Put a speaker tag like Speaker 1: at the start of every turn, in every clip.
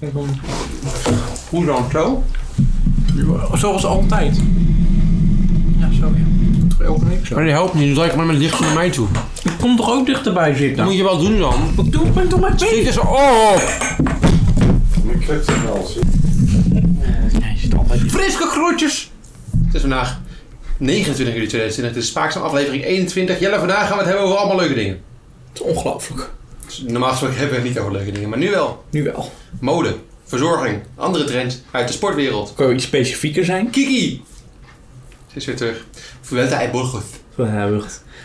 Speaker 1: Kijk, hoe- Hoe dan zo?
Speaker 2: Zoals altijd. Ja, zo ja.
Speaker 1: Elke week zo.
Speaker 3: Maar dat helpt niet, nu draai ik maar met licht naar mij toe.
Speaker 2: Ik kom toch ook dichterbij
Speaker 3: Dat
Speaker 2: zitten?
Speaker 3: moet je wel doen dan.
Speaker 2: Ik doe, ben toch maar
Speaker 3: Kijk eens, oh!
Speaker 4: Nu klikt het wel. zie.
Speaker 1: Friske groetjes!
Speaker 5: Het is vandaag 29 juli 2020. Het is Spaakzaam aflevering 21. Jelle, vandaag gaan we het hebben over allemaal leuke dingen.
Speaker 1: Het is ongelooflijk.
Speaker 5: Dus Normaal gesproken hebben we het niet over leuke dingen, maar nu wel.
Speaker 1: Nu wel.
Speaker 5: Mode, verzorging, andere trends uit de sportwereld.
Speaker 1: Kun je iets specifieker zijn?
Speaker 5: Kiki! Ze is weer terug. Vuelta a Burgos.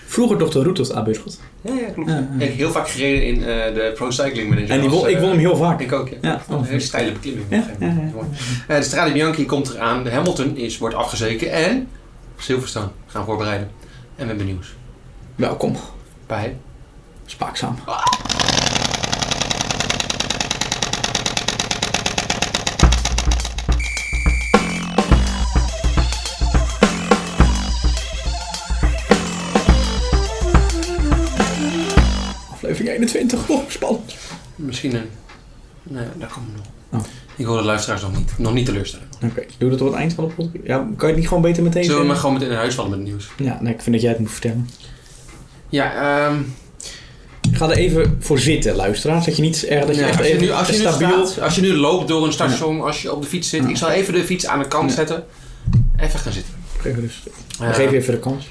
Speaker 1: Vroeger toch de route tot Aberschoot.
Speaker 5: Ja, ja, klopt.
Speaker 1: Ja, ja.
Speaker 5: Ik heb heel vaak gereden in eh, de Pro Cycling Manager.
Speaker 1: En die
Speaker 5: Als,
Speaker 1: won, ik
Speaker 5: eh,
Speaker 1: won hem heel vaak. Oh,
Speaker 5: Ik ook, ja.
Speaker 1: Ja.
Speaker 5: Een hele steile beklimming.
Speaker 1: Ja, ja, ja.
Speaker 5: Mooi. Eh, de Strade Bianchi komt eraan. De Hamilton is, wordt afgezeken. En Silverstone gaan voorbereiden. En we hebben nieuws.
Speaker 1: Welkom.
Speaker 5: Bij
Speaker 1: Spaakzaam. Aflevering 21. Oh, spannend.
Speaker 5: Misschien een... Nee, daar komen we nog.
Speaker 1: Oh.
Speaker 5: Ik wil de luisteraars nog niet, nog niet teleurstellen.
Speaker 1: Oké, doe dat tot het eind van de podcast. Ja, kan je het niet gewoon beter meteen
Speaker 5: Zullen we maar
Speaker 1: zeggen?
Speaker 5: gewoon meteen naar huis vallen met het nieuws?
Speaker 1: Ja, nee, ik vind dat jij het moet vertellen.
Speaker 5: Ja, ehm...
Speaker 1: Ga er even voor zitten, luisteraar. Dat je niet erg dat je
Speaker 5: nee,
Speaker 1: echt
Speaker 5: als, je
Speaker 1: even
Speaker 5: nu, als, je nu
Speaker 1: stabiel...
Speaker 5: staat, als je nu loopt door een station, als je op de fiets zit... Ik zal even de fiets aan de kant
Speaker 1: Ja.
Speaker 5: zetten. Even gaan zitten.
Speaker 1: Geef rustig.
Speaker 5: Eh,
Speaker 1: Dan geef dus je even de kans.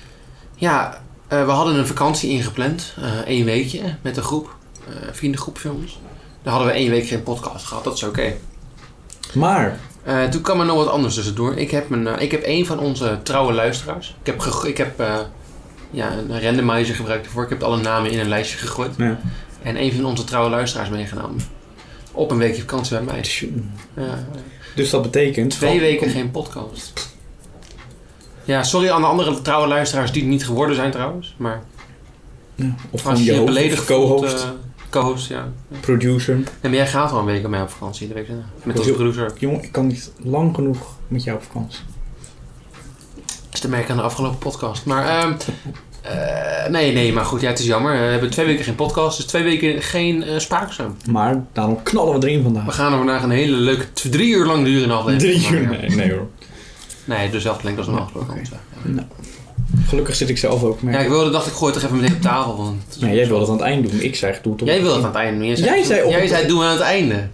Speaker 5: Ja, eh, we hadden een vakantie ingepland. eh één weekje met een groep. eh vriendengroep van ons. Daar hadden we één week geen podcast gehad. Dat is oké.
Speaker 1: Maar,
Speaker 5: Eh, toen kwam er nog wat anders tussendoor. Ik heb, een, eh, ik heb een van onze trouwe luisteraars. Ik heb, geg- ik heb eh, ja, een randomizer gebruikt ervoor. Ik heb alle namen in een lijstje gegooid.
Speaker 1: Ja.
Speaker 5: En een van onze trouwe luisteraars meegenomen. Op een weekje vakantie bij mij. Ja,
Speaker 1: dus dat betekent...
Speaker 5: twee
Speaker 1: van-
Speaker 5: weken geen podcast. Ja, sorry aan de andere trouwe luisteraars die het niet geworden zijn trouwens. Maar
Speaker 1: Ja, of
Speaker 5: als
Speaker 1: gewoon
Speaker 5: je
Speaker 1: je
Speaker 5: je
Speaker 1: hoofd,
Speaker 5: beledigd
Speaker 1: of co-host,
Speaker 5: voelt, eh, co-host, ja. Nee,
Speaker 1: producer.
Speaker 5: maar jij gaat wel een week mee op vakantie. De week daarna. met onze
Speaker 1: Hoezo?
Speaker 5: producer.
Speaker 1: Jongen, ik kan niet lang genoeg met jou op vakantie.
Speaker 5: Dat is te merken aan de afgelopen podcast. Maar ehm, eh, nee, nee, maar goed, ja, het is jammer. Eh, We hebben twee weken geen podcast, dus twee weken geen eh spaakzaam.
Speaker 1: Maar daarom knallen we erin
Speaker 5: We
Speaker 1: vandaag.
Speaker 5: gaan er vandaag een hele leuke t- drie uur lang durende aflevering.
Speaker 1: Drie uur.
Speaker 5: maken.
Speaker 1: Nee, nee hoor.
Speaker 5: Nee, dus zelf klinkt als een afgelopen.
Speaker 1: Gelukkig zit ik zelf ook mee.
Speaker 5: Ja, ik wilde, dacht ik, gooi het toch even meteen op tafel. Want het is-
Speaker 1: Nee, jij wil het aan het eind doen. Ik zeg, doe het op.
Speaker 5: Jij wilde het aan het einde. Jij
Speaker 1: Jij zei op-
Speaker 5: jij zei doen we aan het einde.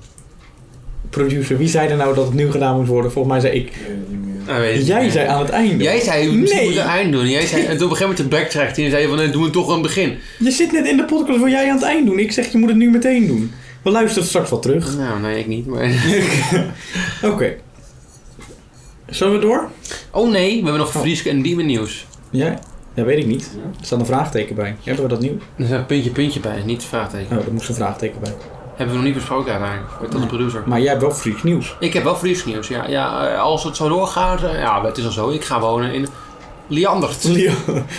Speaker 1: Producer, wie zei er nou dat het nu gedaan moet worden? Volgens mij zei ik.
Speaker 4: Ik weet het niet meer.
Speaker 5: Ah, weet ik
Speaker 1: Jij
Speaker 5: niet.
Speaker 1: zei aan het einde.
Speaker 5: Jij zei, we moeten
Speaker 1: Nee.
Speaker 5: het aan het einde doen. Jij zei, en toen op een gegeven moment de backtrack en zei je van, nee, doen we het toch aan het begin.
Speaker 1: Je zit net in de podcast, wil jij aan het eind doen? Ik zeg, je moet het nu meteen doen. We luisteren het straks wel terug.
Speaker 5: Nou, nee, ik niet, maar...
Speaker 1: Oké. Zullen we door?
Speaker 5: Oh nee, we hebben nog Frieske en Diemen nieuws.
Speaker 1: Ja. Ja, weet ik niet. Er staat een vraagteken bij. Hebben we dat nieuw?
Speaker 5: Er staat puntje, puntje bij, niet vraagteken.
Speaker 1: Oh, er moest een vraagteken bij.
Speaker 5: Hebben we nog niet besproken uiteindelijk. Met onze producer.
Speaker 1: Maar jij hebt wel freaks nieuws.
Speaker 5: Ik heb wel Fries nieuws. Ja, ja, eh, als het zo doorgaat. eh, Ja, het is al zo. Ik ga wonen in Liandert.
Speaker 1: Leo-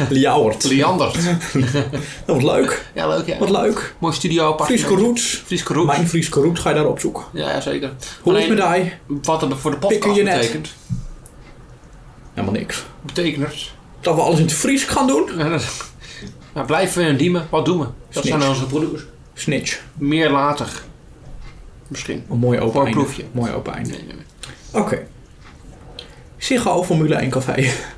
Speaker 1: Liauwert.
Speaker 5: Liandert.
Speaker 1: Dat was leuk.
Speaker 5: Ja, leuk ja.
Speaker 1: Wat leuk.
Speaker 5: Mooi studio apart.
Speaker 1: Friese roots.
Speaker 5: Friese Roep.
Speaker 1: Mijn Friese roots ga je daarop zoeken.
Speaker 5: Ja, ja, zeker.
Speaker 1: Hoe is
Speaker 5: Alleen,
Speaker 1: het met die?
Speaker 5: Wat het voor de
Speaker 1: Pikken
Speaker 5: podcast
Speaker 1: je net.
Speaker 5: betekent.
Speaker 1: Helemaal niks.
Speaker 5: Betekent.
Speaker 1: Dat we alles in het Fries gaan doen?
Speaker 5: Ja, dat- Ja, blijven we in Diemen. Wat doen we? Dat
Speaker 1: Is
Speaker 5: zijn
Speaker 1: niks.
Speaker 5: onze broeders.
Speaker 1: Snitch.
Speaker 5: Meer later. Misschien.
Speaker 1: Een mooi open
Speaker 5: Voor een
Speaker 1: einde.
Speaker 5: proefje.
Speaker 1: Mooi open einde.
Speaker 5: Nee, nee, nee.
Speaker 1: Oké. Ziggo Formule 1 Café.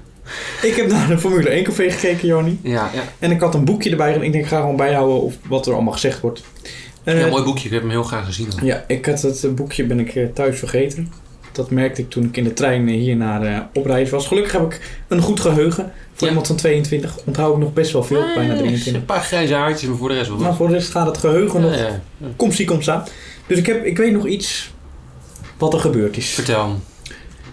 Speaker 1: ik heb naar de Formule 1 Café gekeken, Joni.
Speaker 5: Ja, ja.
Speaker 1: En ik had een boekje erbij. En ik denk, ik ga gewoon bijhouden of wat er allemaal gezegd wordt. Eh,
Speaker 5: ja. Mooi boekje. Ik heb hem heel graag gezien. al.
Speaker 1: Ja, ik had het eh, boekje ben ik eh, thuis vergeten. Dat merkte ik toen ik in de trein eh, hier naar eh, oprijden was. Gelukkig heb ik een goed geheugen. Voor
Speaker 5: Ja.
Speaker 1: iemand van 22 onthoud ik nog best wel veel, bijna
Speaker 5: Ah, Een
Speaker 1: 23.
Speaker 5: paar grijze haartjes, maar voor de rest Eh, wel
Speaker 1: Maar
Speaker 5: goed.
Speaker 1: voor de rest gaat het geheugen nog.
Speaker 5: Ja, ja.
Speaker 1: Kom zie, kom sta. Dus ik, heb, ik weet nog iets wat er gebeurd is.
Speaker 5: Vertel.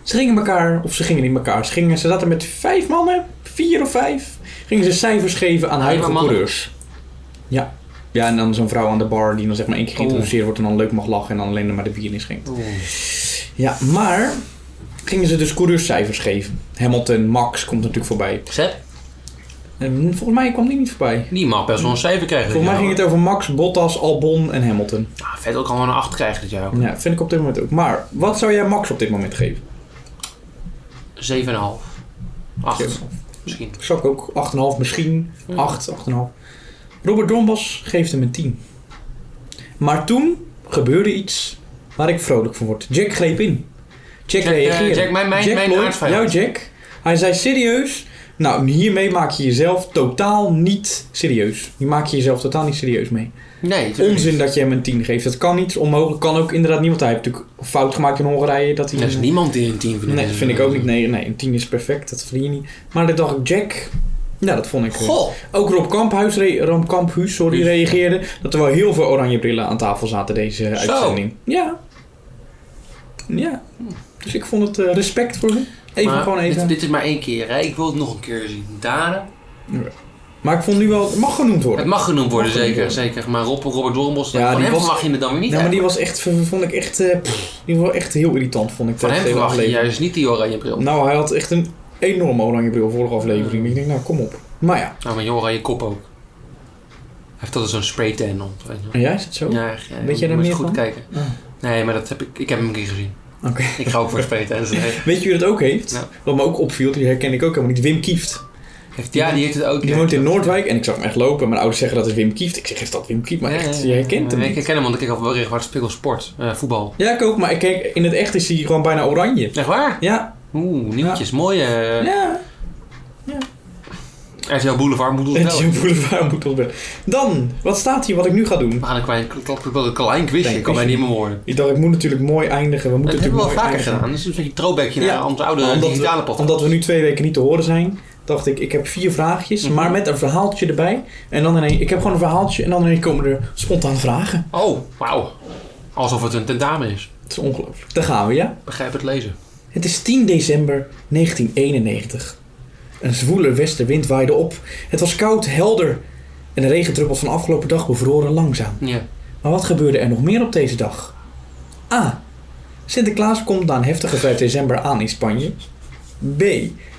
Speaker 1: Ze gingen elkaar, of ze gingen in elkaar. Ze, gingen, ze zaten met vijf mannen, vier of vijf. Gingen ze cijfers geven aan huidige
Speaker 5: mannen.
Speaker 1: coureurs. Ja. Ja, en dan zo'n vrouw aan de bar die dan zeg maar één keer
Speaker 5: Oeh.
Speaker 1: geïntroduceerd wordt en dan leuk mag lachen en dan alleen maar de bier inschenkt.
Speaker 5: Oeh.
Speaker 1: Ja, maar gingen ze dus coureurscijfers geven. Hamilton, Max komt natuurlijk voorbij.
Speaker 5: Zet.
Speaker 1: En volgens mij kwam die niet voorbij.
Speaker 5: Die mag best wel een cijfer krijgen.
Speaker 1: Volgens mij ging het over Max, Bottas, Albon en Hamilton.
Speaker 5: Ah, vet ook gewoon een 8 krijgen dit jaar.
Speaker 1: Ja, vind ik op dit moment ook. Maar wat zou jij Max op dit moment geven?
Speaker 5: 7,5. 8 misschien.
Speaker 1: Zou ik ook 8,5 misschien. 8, 8,5. Robert Dombas geeft hem een 10. Maar toen gebeurde iets waar ik vrolijk van word. Jack greep in. Jack,
Speaker 5: Jack, eh,
Speaker 1: reageerde.
Speaker 5: Jack, mijn- mijn- mijn
Speaker 1: Lloyd,
Speaker 5: aardvijand.
Speaker 1: Jouw Jack. Hij zei serieus. Nou, hiermee maak je jezelf totaal niet serieus. Hier maak je jezelf totaal niet serieus mee.
Speaker 5: Nee, tuurlijk
Speaker 1: Onzin
Speaker 5: niet.
Speaker 1: dat je hem een 10 geeft. Dat kan niet. Onmogelijk. Kan ook inderdaad niemand. Hij heeft natuurlijk fout gemaakt in Hongarije. Dat hij
Speaker 5: Er is niemand die een team vindt.
Speaker 1: Nee, dat vind ik ook niet. Nee, nee, een 10 is perfect. Dat verdien je niet. Maar dat dacht ik, Jack. Ja, dat vond ik. eh,
Speaker 5: Goh.
Speaker 1: Ook Rob Kamphuis, re- Rob Kamphuis sorry,
Speaker 5: Huus.
Speaker 1: reageerde dat er wel heel veel oranje brillen aan tafel zaten deze uitzending. Ja. Ja. Dus ik vond het eh, respect voor hem. Even
Speaker 5: Maar
Speaker 1: gewoon even.
Speaker 5: Dit, dit is maar één keer. Hè? Ik wil het nog een keer zien. Daden.
Speaker 1: Maar ik vond nu wel, het mag genoemd
Speaker 5: Het
Speaker 1: worden.
Speaker 5: mag genoemd worden,
Speaker 1: Mag
Speaker 5: zeker.
Speaker 1: genoemd
Speaker 5: zeker. Maar Rob, Robert Dorenbos,
Speaker 1: Ja,
Speaker 5: van
Speaker 1: die
Speaker 5: hem
Speaker 1: was-
Speaker 5: verwaag je het dan weer niet.
Speaker 1: Ja, maar die
Speaker 5: eigenlijk.
Speaker 1: was echt, vond ik echt, eh, pff, die was echt heel irritant, vond ik.
Speaker 5: van hem
Speaker 1: tijdens de hele
Speaker 5: verwacht je
Speaker 1: aflevering.
Speaker 5: juist Mm. niet die oranje bril.
Speaker 1: Nou, hij had echt een enorme oranje bril vorige aflevering. Ik denk, nou kom op. Maar ja,
Speaker 5: Nou, maar je oranje kop ook. Hij heeft altijd zo'n spray tan op. weet je wel.
Speaker 1: en jij is het zo?
Speaker 5: Ja, ja,
Speaker 1: Oh. Weet jij
Speaker 5: moet
Speaker 1: er
Speaker 5: je
Speaker 1: meer
Speaker 5: goed
Speaker 1: van?
Speaker 5: kijken.
Speaker 1: Ah.
Speaker 5: Nee, maar dat heb ik, ik heb hem een keer gezien.
Speaker 1: Oké.
Speaker 5: Ik ga ook voor spray tan.
Speaker 1: Weet je wie dat ook heeft?
Speaker 5: Ja.
Speaker 1: Wat me ook opviel, die herken ik ook helemaal niet. Wim Kieft.
Speaker 5: Ja, die heeft het ook.
Speaker 1: Die woont in Noordwijk en ik zag hem echt lopen. Mijn ouders zeggen dat is Wim Kieft. Ik zeg, is dat Wim Kieft? Maar
Speaker 5: Ja,
Speaker 1: echt,
Speaker 5: ja,
Speaker 1: je
Speaker 5: ja.
Speaker 1: herkent hem
Speaker 5: Ik
Speaker 1: niet.
Speaker 5: herken hem, want ik kijk al wel regelmatig Spikkel Sport. eh, voetbal.
Speaker 1: Ja, ik ook. Maar ik kijk, in het echt is hij gewoon bijna oranje.
Speaker 5: Echt waar?
Speaker 1: Ja,
Speaker 5: Oeh, nieuwtjes. Mooi. eh
Speaker 1: ja.
Speaker 5: RTL Boulevard moet ons
Speaker 1: En
Speaker 5: wel.
Speaker 1: Jim Boulevard moet ons bellen. Dan, wat staat hier wat ik nu ga doen?
Speaker 5: We gaan een klein, kl- kl- kl- klein quizje.
Speaker 1: Klein
Speaker 5: Ik kan mij
Speaker 1: quizje.
Speaker 5: niet meer worden.
Speaker 1: Ik dacht, ik moet natuurlijk mooi eindigen. We moeten
Speaker 5: Dat hebben we wel
Speaker 1: natuurlijk
Speaker 5: vaker
Speaker 1: mooi eindigen.
Speaker 5: gedaan. Dat is een beetje een throwbackje naar onze oude
Speaker 1: omdat
Speaker 5: digitale
Speaker 1: we,
Speaker 5: podcast.
Speaker 1: omdat we nu twee weken niet te horen zijn, dacht ik, ik heb vier vraagjes,
Speaker 5: Mhm.
Speaker 1: maar met een verhaaltje erbij. En dan ineens, ik heb gewoon een verhaaltje en dan ineens komen er spontaan vragen.
Speaker 5: Oh, wauw. Alsof het een tentamen is.
Speaker 1: Het is ongelooflijk. Daar gaan we, ja?
Speaker 5: Begrijp het lezen.
Speaker 1: Het is 10 december 1991. Een zwoele westenwind waaide op. Het was koud, helder en de regendruppels van afgelopen dag bevroren langzaam.
Speaker 5: Ja.
Speaker 1: Maar wat gebeurde er nog meer op deze dag? A. Sinterklaas komt na een heftige 5 december aan in Spanje. B.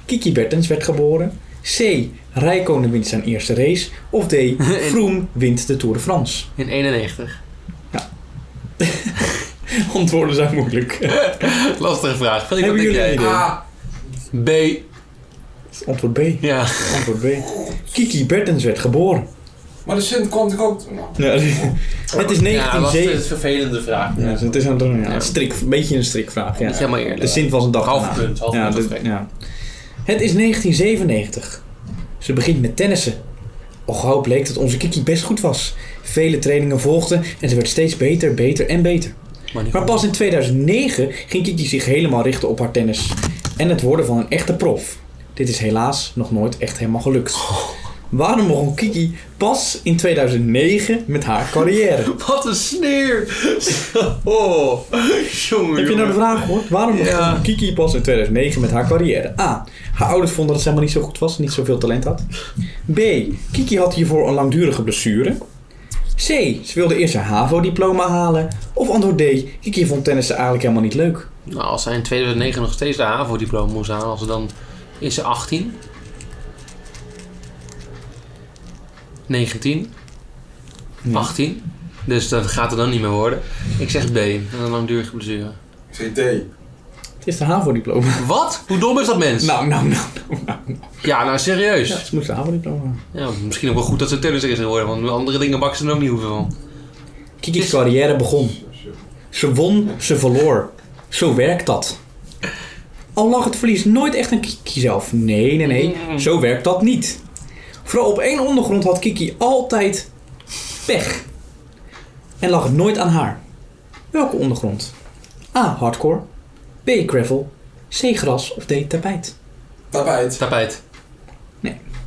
Speaker 1: Kiki Bertens werd geboren. C. Rijkonen wint zijn eerste race. Of D. Vroom wint de Tour de France.
Speaker 5: In 91.
Speaker 1: Antwoorden zijn moeilijk.
Speaker 5: Lastige vraag. Vind ik
Speaker 1: Hebben
Speaker 5: wat denk
Speaker 1: jullie
Speaker 5: jij?
Speaker 1: een idee?
Speaker 5: A. B.
Speaker 1: Antwoord B.
Speaker 5: Ja.
Speaker 1: Antwoord B. Kiki Bertens werd geboren.
Speaker 4: Maar de Sint komt ik ook... Nou,
Speaker 1: Ja. Het is
Speaker 5: Ja, dat is
Speaker 1: 1907.
Speaker 5: een vervelende vraag.
Speaker 1: Ja, dus het is een, ja,
Speaker 5: Ja.
Speaker 1: een, strik, een beetje een strikvraag.
Speaker 5: Dat is
Speaker 1: Ja.
Speaker 5: helemaal
Speaker 1: De
Speaker 5: eerlijk.
Speaker 1: Sint was een dag
Speaker 5: Half
Speaker 1: erna.
Speaker 5: punt, half
Speaker 1: ja,
Speaker 5: punt,
Speaker 1: dit-
Speaker 5: dat is
Speaker 1: ja. Het is 1997. Ze begint met tennissen. Al gauw bleek dat onze Kiki best goed was. Vele trainingen volgden en ze werd steeds beter, beter en beter.
Speaker 5: Maar niet
Speaker 1: Maar pas in 2009 ging Kiki zich helemaal richten op haar tennis. En het worden van een echte prof. Dit is helaas nog nooit echt helemaal gelukt. Waarom begon Kiki pas in 2009 met haar carrière?
Speaker 5: Wat een sneer! Oh, jongen.
Speaker 1: Heb je nou de vraag gehoord? Waarom begon
Speaker 5: Ja.
Speaker 1: Kiki pas in 2009 met haar carrière? A. Haar ouders vonden dat ze helemaal niet zo goed was, niet zoveel talent had. B. Kiki had hiervoor een langdurige blessure. C. Ze wilde eerst haar HAVO-diploma halen. Of antwoord D. Kiki vond tennissen eigenlijk helemaal niet leuk.
Speaker 5: Nou, als hij in 2009 nog steeds de HAVO-diploma moest halen, als ze dan is ze 18. 19.
Speaker 1: Ja.
Speaker 5: 18. Dus dat gaat er dan niet meer worden. Ik zeg B. en Een langdurige blessure.
Speaker 4: ik zei D.
Speaker 1: Het is de HAVO-diploma.
Speaker 5: Wat? Hoe dom is dat mens?
Speaker 1: Nou, nou, nou, nou, nou.
Speaker 5: Ja, nou serieus.
Speaker 1: Ja,
Speaker 5: Ja.
Speaker 1: ze moest de HAVO-diploma halen.
Speaker 5: misschien ook wel goed dat ze tennis is geworden, want andere dingen bakken ze er ook niet hoeveel van.
Speaker 1: Kiki's carrière begon. Ze won, ze verloor. Zo werkt dat. Al lag het verlies nooit echt aan Kiki zelf. Nee, nee, nee. Zo werkt dat niet. Vooral op één ondergrond had Kiki altijd pech. En lag het nooit aan haar. Welke ondergrond? A. Hardcore. B. Gravel. C. Gras. Of D. Tapijt.
Speaker 4: Tapijt.
Speaker 5: Tapijt.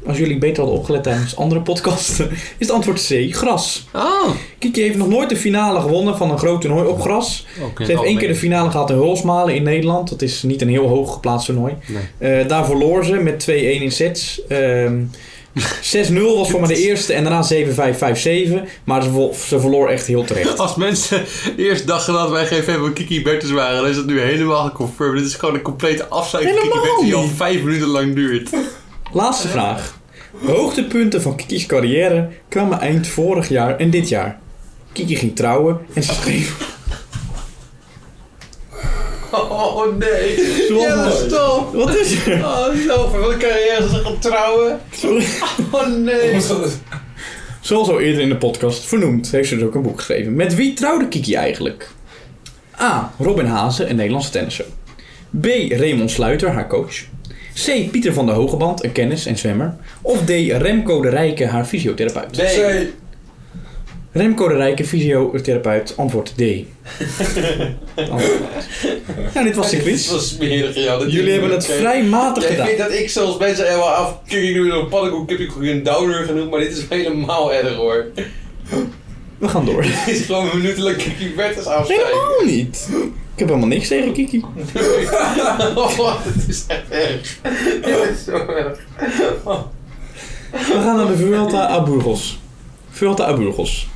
Speaker 1: Als jullie beter hadden opgelet tijdens andere podcasten, is het antwoord C. Gras.
Speaker 5: Oh!
Speaker 1: Kiki heeft nog nooit de finale gewonnen van een groot toernooi op gras.
Speaker 5: Ook in
Speaker 1: Ze heeft één
Speaker 5: het
Speaker 1: keer de finale gehad in Hulsmalen in Nederland. Dat is niet een heel hoog geplaatst toernooi. Eh, daar verloor ze met 2-1 in sets. Ehm, 6-0 was voor mij de eerste en daarna 7-5-5-7. Maar ze, vo- ze verloor echt heel terecht.
Speaker 5: Als mensen eerst dachten dat wij geen fan van Kiki Bertens waren, dan is dat nu helemaal geconfirmed. Dit is gewoon een complete afzijking van Kiki
Speaker 1: Helemaal
Speaker 5: Bertens die al
Speaker 1: niet.
Speaker 5: vijf minuten lang duurt.
Speaker 1: Laatste vraag. Hoogtepunten van Kiki's carrière kwamen eind vorig jaar en dit jaar. Kiki ging trouwen en ze schreef...
Speaker 5: Oh nee.
Speaker 1: Ja,
Speaker 5: stop.
Speaker 1: Wat is er?
Speaker 5: Oh, zo. Van welke carrière is ze gaan trouwen? Oh nee.
Speaker 1: Zoals al eerder in de podcast vernoemd, heeft ze dus ook een boek geschreven. Met wie trouwde Kiki eigenlijk? A. Robin Hazen, een Nederlandse tennisser. B. Raymond Sluiter, haar coach. C. Pieter van der Hogeband, een kennis en zwemmer. Of D. Remco de Rijke, haar fysiotherapeut.
Speaker 4: C.
Speaker 1: Remco de Rijke, fysiotherapeut, antwoord D. Antwoord. Nou, dit was de
Speaker 6: Dit
Speaker 1: quiz.
Speaker 6: was smerig, ja. dat
Speaker 1: Jullie
Speaker 6: ik-
Speaker 1: hebben het
Speaker 6: Oké.
Speaker 1: vrij matig
Speaker 6: Jij
Speaker 1: gedaan.
Speaker 6: vindt dat ik zelfs mensen er wel af... Kijk, ik doe een pannenkoek, heb ik een downer genoemd, maar dit is helemaal erg hoor.
Speaker 1: We gaan door.
Speaker 6: Dit is gewoon minuutelijk Kiki Bertens afstijgen.
Speaker 1: Helemaal niet. Ik heb helemaal niks tegen Kiki.
Speaker 6: Oh, dit is echt erg. Dit is zo erg.
Speaker 1: We gaan naar de Vuelta a Burgos. Vuelta a Burgos.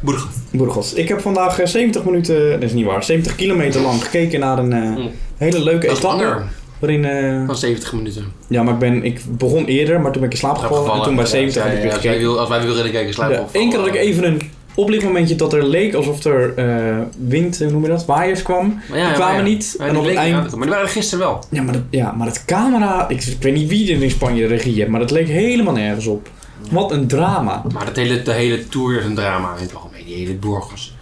Speaker 5: Burgos.
Speaker 1: Burgos. Ik heb vandaag eh, 70 minuten, dat is niet waar, 70 kilometer lang gekeken naar een eh,
Speaker 5: Mm.
Speaker 1: hele leuke
Speaker 5: Dat is
Speaker 1: etappe.
Speaker 5: langer
Speaker 1: Waarin, eh,
Speaker 5: dan 70 minuten.
Speaker 1: ja, maar ik, ben, ik begon eerder, maar toen ben ik in slaap gevallen. En toen bij 70 heb ik weer
Speaker 5: als, wij
Speaker 1: gekeken.
Speaker 5: wil, als wij weer willen kijken, sluiten
Speaker 1: Ja,
Speaker 5: we op. Oh.
Speaker 1: Eén keer had ik even een oplichtmomentje dat er leek alsof er eh, wind, hoe noem je dat, waaiers kwam.
Speaker 5: Maar ja,
Speaker 1: die
Speaker 5: ja,
Speaker 1: kwamen
Speaker 5: maar ja.
Speaker 1: niet.
Speaker 5: Ja,
Speaker 1: en
Speaker 5: die
Speaker 1: op het
Speaker 5: bleken
Speaker 1: eind...
Speaker 5: aan te komen. Maar die waren er gisteren wel.
Speaker 1: Ja maar, dat, ja, maar het camera... Ik, ik weet niet wie er in Spanje de regie heeft, maar dat leek helemaal nergens op. Wat een drama.
Speaker 5: Maar dat hele, de hele tour is een drama in het algemeen. Die hele Burgos.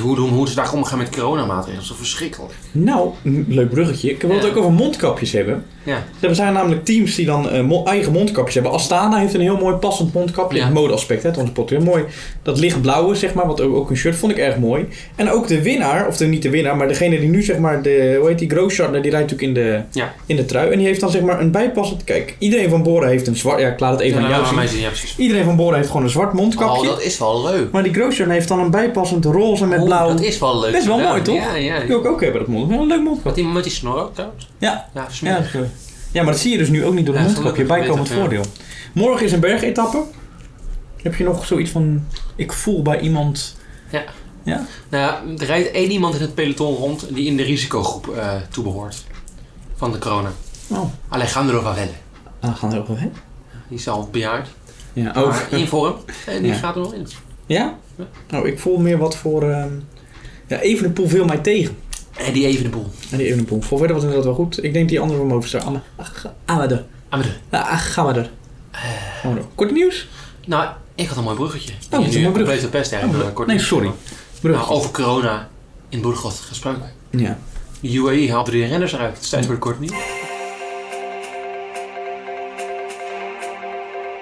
Speaker 5: Hoe, hoe, hoe ze daar omgaan met coronamaatregelen. Zo verschrikkelijk.
Speaker 1: Nou, een leuk bruggetje. Ik wil het
Speaker 5: Ja.
Speaker 1: ook over mondkapjes hebben.
Speaker 5: Ja.
Speaker 1: Er zijn namelijk teams die dan eh, mo- eigen mondkapjes hebben. Astana heeft een heel mooi passend mondkapje.
Speaker 5: Ja.
Speaker 1: Het modeaspect, hè, het onze pot. Heel mooi. Dat lichtblauwe, zeg maar, wat ook, ook een shirt, vond ik erg mooi. En ook de winnaar, of de, niet de winnaar, maar degene die nu, zeg maar, de, hoe heet die, Grosschartner, die rijdt natuurlijk in de,
Speaker 5: Ja.
Speaker 1: in de trui. En die heeft dan, zeg maar, een bijpassend, kijk, iedereen van Boren heeft een zwart, ja, ik laat het even
Speaker 5: Ja,
Speaker 1: aan jou
Speaker 5: nou, aan
Speaker 1: zien.
Speaker 5: mij zien, ja, precies.
Speaker 1: Iedereen van Boren heeft gewoon een zwart mondkapje.
Speaker 5: Oh, dat is wel leuk.
Speaker 1: Maar die Grosjean heeft dan een bijpassend roze met
Speaker 5: Oh,
Speaker 1: blauw.
Speaker 5: Dat is wel leuk.
Speaker 1: Best wel
Speaker 5: gedaan.
Speaker 1: mooi, toch?
Speaker 5: Ja,
Speaker 1: Dat wil
Speaker 5: ja.
Speaker 1: ik ook hebben, dat mondkapje. Wel Een leuk
Speaker 5: Wat
Speaker 1: mondkapje.
Speaker 5: iemand met die snor ook trouwens?
Speaker 1: Ja.
Speaker 5: Ja,
Speaker 1: Ja,
Speaker 5: smerig.
Speaker 1: dat is leuk. eh. ja, maar dat zie je dus nu ook niet door het
Speaker 5: Ja,
Speaker 1: mondkapje.
Speaker 5: gelukkig
Speaker 1: Bijkomend
Speaker 5: beter, ja.
Speaker 1: voordeel. Morgen is een bergetappe. Heb je nog zoiets van... Ik voel bij iemand...
Speaker 5: Nou, ja, er rijdt één iemand in het peloton rond die in de risicogroep eh toebehoort. Van de corona.
Speaker 1: Oh.
Speaker 5: Alejandro Valverde.
Speaker 1: Ah, gaan we over, hè?
Speaker 5: Die is al bejaard.
Speaker 1: Ja, oh.
Speaker 5: Maar in vorm. En die
Speaker 1: Ja.
Speaker 5: gaat er wel in.
Speaker 1: Ja? Nou, ik voel meer wat voor... ehm Ja, Evenepoel viel mij tegen.
Speaker 5: En die even de boel.
Speaker 1: Ja, die Evenepoel. Voor verder was inderdaad wel goed. Ik denk die andere van Movistar. Anne. Amader.
Speaker 5: Amade.
Speaker 1: Gamader.
Speaker 5: Eh.
Speaker 1: Oh, Kort nieuws?
Speaker 5: Nou, ik had een mooi bruggetje.
Speaker 1: wat Oh, een
Speaker 5: nu
Speaker 1: mooi Oh,
Speaker 5: compleet de pest eigenlijk. eh, kort
Speaker 1: Nee,
Speaker 5: is.
Speaker 1: sorry.
Speaker 5: Nou,
Speaker 1: Brugge.
Speaker 5: over corona in Burgos gesproken.
Speaker 1: Ja.
Speaker 5: De UAE haalt drie renners eruit. Het is tijd voor de kort nieuws.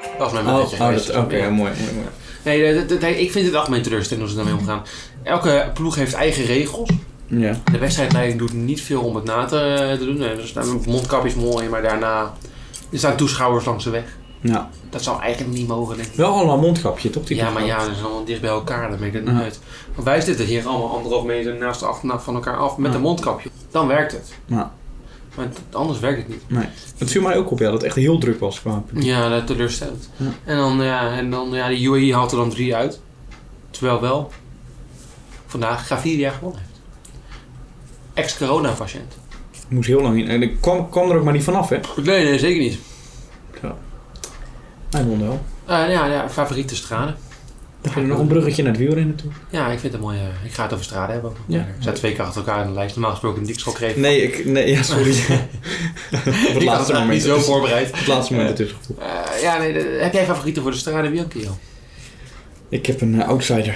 Speaker 5: Dat was mijn
Speaker 1: Oh,
Speaker 5: momentje
Speaker 1: oh,
Speaker 5: geweest.
Speaker 1: dat- oké. ja, mooi, mooi, mooi.
Speaker 5: Nee, dat- dat- nee, ik vind het algemeen teleurstellend hoe ze daarmee omgaan. Elke ploeg heeft eigen regels.
Speaker 1: Ja.
Speaker 5: De wedstrijdleiding doet niet veel om het na te, eh, te doen. Nee, Er staan mondkapjes mooi, maar daarna er staan toeschouwers langs de weg.
Speaker 1: Ja.
Speaker 5: Dat zou eigenlijk niet mogen, denk ik.
Speaker 1: Wel allemaal mondkapje, toch? Die
Speaker 5: Ja, maar
Speaker 1: mondkapjes?
Speaker 5: ja, dat is allemaal dicht bij elkaar. Dat maakt het
Speaker 1: Ja.
Speaker 5: niet uit. Maar wij zitten hier allemaal anderhalf meter naast de achternaaf van elkaar af met
Speaker 1: Ja.
Speaker 5: een mondkapje. Dan werkt het.
Speaker 1: Ja.
Speaker 5: Maar t- anders werkt het niet.
Speaker 1: Het viel mij ook op, ja, dat het echt heel druk was qua publiek.
Speaker 5: Ja, dat teleurstelt.
Speaker 1: Ja.
Speaker 5: En dan, ja, en dan, ja, de UAE haalt er dan drie uit. Terwijl wel vandaag Gaviria gewonnen heeft. Ex-corona-patiënt.
Speaker 1: Ik moest heel lang in. En ik kwam, kwam er ook maar niet vanaf, hè?
Speaker 5: Nee, nee, zeker niet.
Speaker 1: Hij won wel.
Speaker 5: Eh, ja, ja, favoriete straden.
Speaker 1: Dan ging er nog een bruggetje naar het wielrennen toe.
Speaker 5: Ja, ik vind het mooi. eh, ik ga het over straden hebben.
Speaker 1: Ja.
Speaker 5: Er zijn twee keer achter elkaar in de lijst. Normaal gesproken een dikschok kreeg.
Speaker 1: Nee, ik, nee ja, sorry. Op het
Speaker 5: Ik had
Speaker 1: laatste
Speaker 5: het
Speaker 1: moment.
Speaker 5: niet zo voorbereid.
Speaker 1: Op het laatste moment ertussen gevoeld.
Speaker 5: Eh, ja, nee, de- heb jij favorieten voor de Strade Bianchio?
Speaker 1: Ik heb een eh, outsider.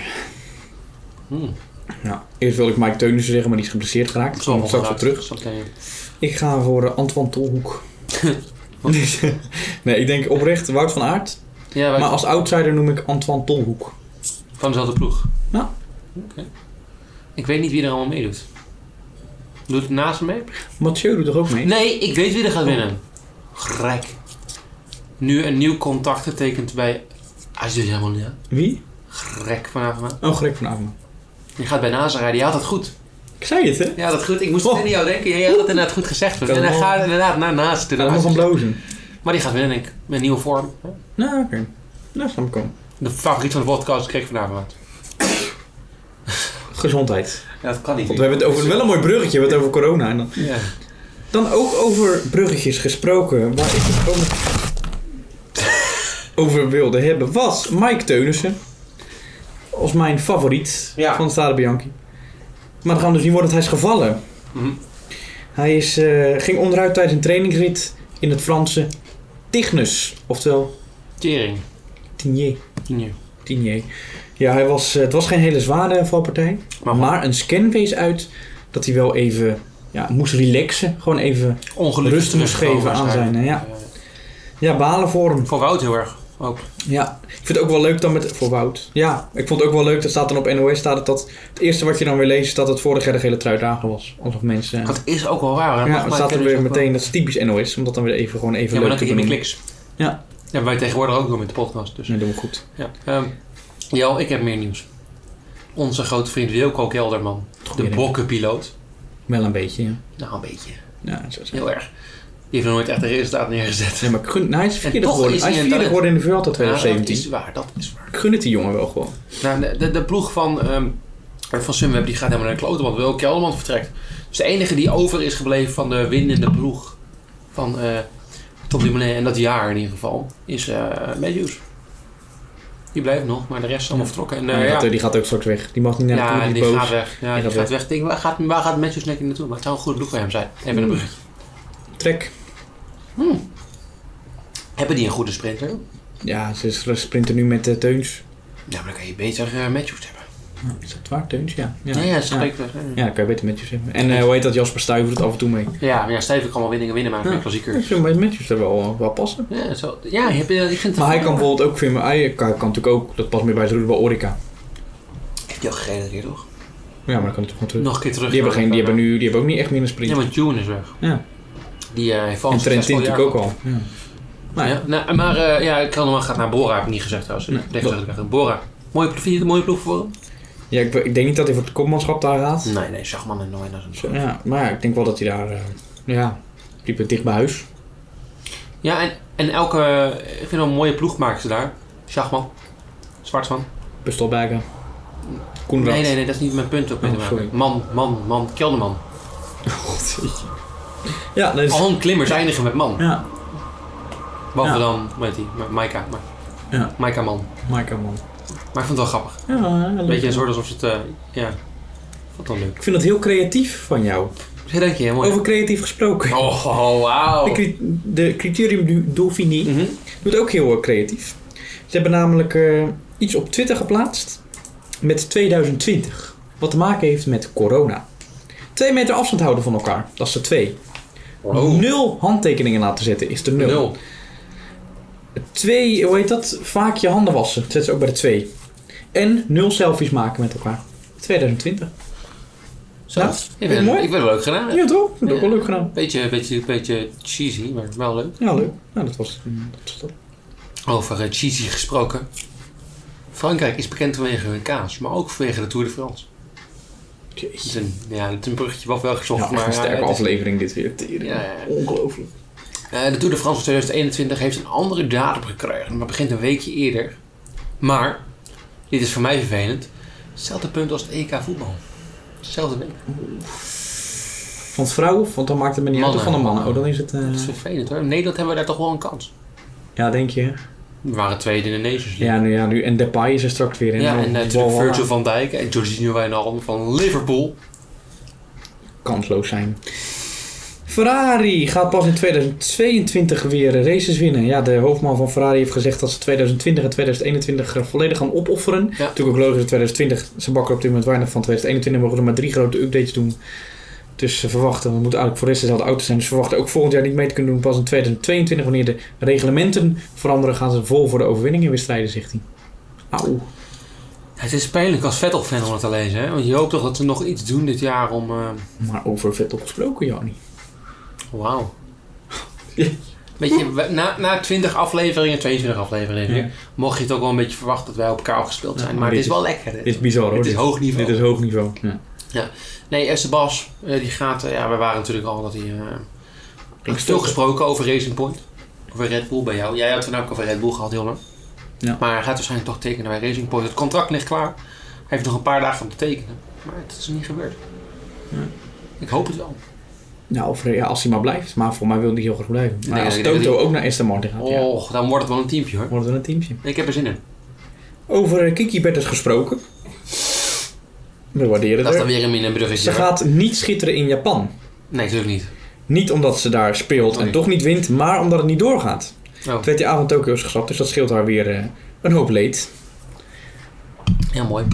Speaker 5: Hmm.
Speaker 1: Ja. Eerst wilde ik Mike Teunissen zeggen, maar die is geblesseerd geraakt. Daar komen we straks op terug. Ik ga voor eh, Antoine Tolhoek. Dus, eh, nee, ik denk oprecht Wout van Aert.
Speaker 5: Ja, wij-
Speaker 1: Maar als outsider noem ik Antoine Tolhoek.
Speaker 5: van dezelfde ploeg.
Speaker 1: Ja.
Speaker 5: Oké. Ik weet niet wie er allemaal meedoet. Doet het naast hem mee?
Speaker 1: Mathieu doet toch ook mee?
Speaker 5: Nee, ik weet wie er gaat winnen. Grijk. Oh, Nu een nieuw contact getekend bij Ah, Azerbaijan.
Speaker 1: Wie?
Speaker 5: Grek vanavond.
Speaker 1: Oh, Greg van Avermaat.
Speaker 5: Die gaat bij NASA rijden. Je had het goed.
Speaker 1: Ik zei het, hè?
Speaker 5: Ja, dat goed. Ik moest het
Speaker 1: Oh.
Speaker 5: in jou denken. Je had het inderdaad goed gezegd. En
Speaker 1: Kan
Speaker 5: hij
Speaker 1: wel.
Speaker 5: gaat inderdaad naar naast.
Speaker 1: Dat was een blozen.
Speaker 5: Maar die gaat winnen, denk ik. Met een nieuwe vorm.
Speaker 1: Nou, oké. Nou, snap ik wel.
Speaker 5: De favoriet van de podcast kreeg ik vanavond.
Speaker 1: Gezondheid.
Speaker 5: Ja, dat kan niet.
Speaker 1: Want we hebben het over wel een mooi bruggetje, we hebben het over corona. En dan,
Speaker 5: Ja.
Speaker 1: dan ook over bruggetjes gesproken, waar ik het over, over wilde hebben, was Mike Teunissen. Als mijn favoriet
Speaker 5: Ja.
Speaker 1: van Stade Bianchi. Maar dan gaan we dus niet worden, want hij is gevallen.
Speaker 5: Mhm.
Speaker 1: Hij is, eh, ging onderuit tijdens een trainingsrit in het Franse Tignes, oftewel
Speaker 5: Tering.
Speaker 1: Tigné.
Speaker 5: Ja.
Speaker 1: Tigné. Ja, hij was, eh, het was geen hele zware valpartij. Maar,
Speaker 5: Maar-
Speaker 1: een scan wees uit dat hij wel even ja, moest relaxen. Gewoon even
Speaker 5: Ongelukkig.
Speaker 1: rust moest
Speaker 5: teruggekomen
Speaker 1: geven aan zijn.
Speaker 5: waarschijnlijk.
Speaker 1: eh, Ja. ja, balen voor hem.
Speaker 5: Voor Wout heel erg. Ook.
Speaker 1: Ja, ik vind het ook wel leuk dan met... Voor Wout. Ja, ik vond het ook wel leuk. Dat staat dan op NOS staat het dat... Het eerste wat je dan weer leest is dat het vorig jaar de gele trui dragen was. Alsof mensen...
Speaker 5: Dat is ook wel waar. hè?
Speaker 1: ja,
Speaker 5: Volgens
Speaker 1: het
Speaker 5: mij
Speaker 1: staat er
Speaker 5: kennen
Speaker 1: weer
Speaker 5: ze ook wel.
Speaker 1: meteen... Dat is typisch NOS. Om dat dan weer even gewoon even
Speaker 5: Ja, maar
Speaker 1: leuk
Speaker 5: dat
Speaker 1: te
Speaker 5: ik in de
Speaker 1: benoemen.
Speaker 5: kliks.
Speaker 1: Ja.
Speaker 5: Ja, wij tegenwoordig ook doen met de podcast. Dus.
Speaker 1: Nee, doen we goed.
Speaker 5: Ja. Ehm, Jel, ik heb meer nieuws. Onze grote vriend Wilco Kelderman, de
Speaker 1: Goeie idee.
Speaker 5: bokkenpiloot.
Speaker 1: Wel een beetje, ja.
Speaker 5: Nou, een beetje.
Speaker 1: Ja, zo is het.
Speaker 5: Heel erg. Die heeft nog nooit echt een resultaat neergezet.
Speaker 1: Nee, maar ik gun, nou, hij is
Speaker 5: En
Speaker 1: vierde
Speaker 5: toch
Speaker 1: geworden.
Speaker 5: is
Speaker 1: Hij is
Speaker 5: hij
Speaker 1: vierde
Speaker 5: een-
Speaker 1: geworden in de Vuelta
Speaker 5: Nou,
Speaker 1: 2017.
Speaker 5: dat is waar, dat is waar.
Speaker 1: Ik gun het die jongen wel gewoon.
Speaker 5: Nou, de, de, de ploeg van, ehm, van Sunweb die gaat helemaal naar de klote, want Wil Kelderman vertrekt. Dus de enige die over is gebleven van de winnende ploeg van eh Tom Dumoulin en dat jaar in ieder geval, is eh Matthews. Die blijft nog, maar de rest is allemaal vertrokken. En, eh,
Speaker 1: Maar die
Speaker 5: ja,
Speaker 1: gaat- Die gaat ook straks weg. Die mag niet naar de
Speaker 5: ja,
Speaker 1: Tour, die
Speaker 5: die
Speaker 1: is boos.
Speaker 5: gaat weg. Ja,
Speaker 1: Die
Speaker 5: die,
Speaker 1: gaat
Speaker 5: gaat weg. Ik Denk, waar, gaat, waar gaat Matthews nek in naartoe? Maar het zou een goede ploeg voor hem zijn. Even een bruggetje.
Speaker 1: Trek.
Speaker 5: Hebben die een goede sprinter?
Speaker 1: Ja, ze is- ze sprinten nu met eh, Teuns.
Speaker 5: Ja, maar dan kan je beter eh, Matthews hebben.
Speaker 1: Is dat waar, Teuns? Ja.
Speaker 5: Ja, ja, dat
Speaker 1: ja.
Speaker 5: spreekt wel.
Speaker 1: Ja, dan kan je beter Matthews hebben. En eh, hoe heet dat? Jasper Stuyven doet af en toe mee.
Speaker 5: Ja, maar ja, Steven kan wel winningen winnen, maar
Speaker 1: Ja.
Speaker 5: ja.
Speaker 1: Ik
Speaker 5: klassiekers.
Speaker 1: vind bij Matthews er wel, eh, wel passen.
Speaker 5: Ja, zo, ja heb je, eh, ik vind het
Speaker 1: Maar hij kan bijvoorbeeld ook, vind me, hij kan, kan natuurlijk ook, dat past meer bij zijn route bij Orica.
Speaker 5: Heb je al gereden keer, toch?
Speaker 1: Ja, maar dan kan het toch gewoon terug.
Speaker 5: Nog een keer terug.
Speaker 1: Hm. Die hebben, geen, die hebben nu die hebben ook niet echt meer een sprint.
Speaker 5: Ja, maar Tune is weg.
Speaker 1: Ja.
Speaker 5: Die eh heeft al
Speaker 1: en
Speaker 5: een
Speaker 1: Trentin
Speaker 5: succesvol
Speaker 1: natuurlijk
Speaker 5: jaar
Speaker 1: ook al. Ja. Nou,
Speaker 5: gehad.
Speaker 1: ja.
Speaker 5: Ja, nou, maar eh ja, Kelderman gaat naar Bora, heb ik niet gezegd trouwens.
Speaker 1: Nee,
Speaker 5: Nee, Bora. Mooie, ploeg- vind je het een mooie ploeg voor hem?
Speaker 1: Ja, ik, ik denk niet dat hij voor het kopmanschap daar gaat.
Speaker 5: Nee, nee, Schachman en Nooyen. dat is een soort-
Speaker 1: Ja, maar ja, ik denk wel dat hij daar, eh, ja, liep het dicht bij huis.
Speaker 5: Ja, en, en elke, eh, ik vind wel een mooie ploeg maken ze daar. Schachman, Zwartman.
Speaker 1: Pustelbergen. Koenraad.
Speaker 5: Nee, nee, nee, dat is niet mijn punt op.
Speaker 1: Oh, sorry.
Speaker 5: man, man, man, Kelderman.
Speaker 1: Dus- Ja, dat is...
Speaker 5: Al hun klimmers eindigen met man.
Speaker 1: Ja,
Speaker 5: Behalve
Speaker 1: Ja.
Speaker 5: dan, hoe heet die, Ma- Maika. Ma-
Speaker 1: Ja.
Speaker 5: Maika man.
Speaker 1: Michael man.
Speaker 5: Maar ik vond het wel grappig.
Speaker 1: Ja,
Speaker 5: Een beetje een soort alsof het, eh, ja, vond het wel leuk.
Speaker 1: Ik vind dat heel creatief van jou.
Speaker 5: Dus dank je, heel mooi.
Speaker 1: Over creatief gesproken.
Speaker 5: Oh, oh, wauw.
Speaker 1: De, cri- de Criterium du Dauphiné
Speaker 5: Mhm.
Speaker 1: doet ook heel eh, creatief. Ze hebben namelijk eh, iets op Twitter geplaatst met 2020. Wat te maken heeft met corona. Twee meter afstand houden van elkaar. Dat is de twee.
Speaker 5: Oh.
Speaker 1: Nul handtekeningen laten zetten is de nul.
Speaker 5: Nul.
Speaker 1: Twee, hoe heet dat? Vaak je handen wassen. Dat zet ze ook bij de twee. En nul selfies maken met elkaar. 2020.
Speaker 5: Zo.
Speaker 1: Nou,
Speaker 5: ik,
Speaker 1: vind je het
Speaker 5: ben,
Speaker 1: mooi?
Speaker 5: ik ben leuk gedaan.
Speaker 1: Ja toch? Dat heb ik ook wel leuk gedaan.
Speaker 5: Beetje, beetje, beetje cheesy, maar wel leuk.
Speaker 1: Ja, leuk. Nou, dat was, dat was dat.
Speaker 5: Over eh, cheesy gesproken. Frankrijk is bekend vanwege hun kaas, maar ook vanwege de Tour de France. Het is een, ja, het is een bruggetje wat wel gezocht,
Speaker 1: Ja, echt
Speaker 5: maar
Speaker 1: een
Speaker 5: ja,
Speaker 1: sterke
Speaker 5: het is-
Speaker 1: aflevering dit weer. Tering.
Speaker 5: Ja, ja, ja.
Speaker 1: Ongelooflijk.
Speaker 5: Eh, de Tour de France van 2021 heeft een andere datum gekregen, maar begint een weekje eerder. Maar, dit is voor mij vervelend, hetzelfde punt als het EK voetbal. Hetzelfde week.
Speaker 1: Van het vrouwen, want dan maakt het me niet uit. Of
Speaker 5: Mannen.
Speaker 1: van de mannen. Oh, dan is het... eh,
Speaker 5: Dat is vervelend hoor. In Nederland hebben we daar toch wel een kans.
Speaker 1: Ja, denk je.
Speaker 5: We waren tweede in de Nations League.
Speaker 1: Ja, nu, ja, nu. En Depay is er straks weer in. Oh,
Speaker 5: Ja, en
Speaker 1: dan-
Speaker 5: eh, natuurlijk
Speaker 1: Walhalla.
Speaker 5: Virgil van Dijk en Jorginho Wijnaldum van Liverpool.
Speaker 1: kansloos zijn. Ferrari gaat pas in 2022 weer races winnen. Ja, de hoofdman van Ferrari heeft gezegd dat ze 2020 en 2021 volledig gaan opofferen. Natuurlijk ook logisch dat 2020, ze bakken op dit moment weinig van 2021, mogen er maar drie grote updates doen. Dus ze verwachten, we moeten eigenlijk voor de rest dezelfde auto's zijn. Dus ze verwachten ook volgend jaar niet mee te kunnen doen. Pas in 2022, wanneer de reglementen veranderen, gaan ze vol voor de overwinning in weer strijden, zegt hij. Auw.
Speaker 5: Het is pijnlijk als Vettel-fan om het te lezen, hè? want je hoopt toch dat ze nog iets doen dit jaar om... eh,
Speaker 1: Maar over Vettel gesproken, Jani.
Speaker 5: Wauw.
Speaker 1: Ja.
Speaker 5: Weet je, we- na, na 20 afleveringen, 22 afleveringen,
Speaker 1: Ja.
Speaker 5: mocht je het ook wel een beetje verwachten dat wij op elkaar afgespeeld
Speaker 1: Ja,
Speaker 5: zijn.
Speaker 1: maar
Speaker 5: maar het
Speaker 1: dit
Speaker 5: is wel lekker. hè?
Speaker 1: Dit is bizar hoor.
Speaker 5: het is hoog niveau.
Speaker 1: Dit is hoog niveau. Ja.
Speaker 5: Nee, Esther Bas, eh, die gaat, eh, ja, we waren natuurlijk al dat hij. eh, er is veel gesproken over Racing Point. Over Red Bull bij jou. Jij had het namelijk over Red Bull gehad, heel lang.
Speaker 1: Ja.
Speaker 5: Maar hij gaat waarschijnlijk toch tekenen bij Racing Point. Het contract ligt klaar. Hij heeft nog een paar dagen om te tekenen. Maar het is niet gebeurd.
Speaker 1: Ja.
Speaker 5: Ik hoop het wel.
Speaker 1: Nou, of, ja, als hij maar blijft. Maar voor mij wil hij heel graag blijven. Maar
Speaker 5: Nee,
Speaker 1: als
Speaker 5: ik Oh. denk
Speaker 1: Toto
Speaker 5: dat
Speaker 1: ook naar Aston Martin gaat, ja,
Speaker 5: Och, dan wordt het wel een teampje hoor.
Speaker 1: wordt het wel een teamje.
Speaker 5: Ik heb er zin in.
Speaker 1: Over eh, Kiki Bertens gesproken. We waarderen
Speaker 5: Dat is dan
Speaker 1: haar.
Speaker 5: weer een minder bruggetje.
Speaker 1: Ze
Speaker 5: hoor.
Speaker 1: gaat niet schitteren in Japan.
Speaker 5: Nee, natuurlijk niet.
Speaker 1: Niet omdat ze daar speelt en
Speaker 5: Nee.
Speaker 1: toch niet wint, maar omdat het niet doorgaat.
Speaker 5: Oh.
Speaker 1: Het WTA van Tokio is geschrapt, dus dat scheelt haar weer eh, een hoop leed.
Speaker 5: Heel mooi.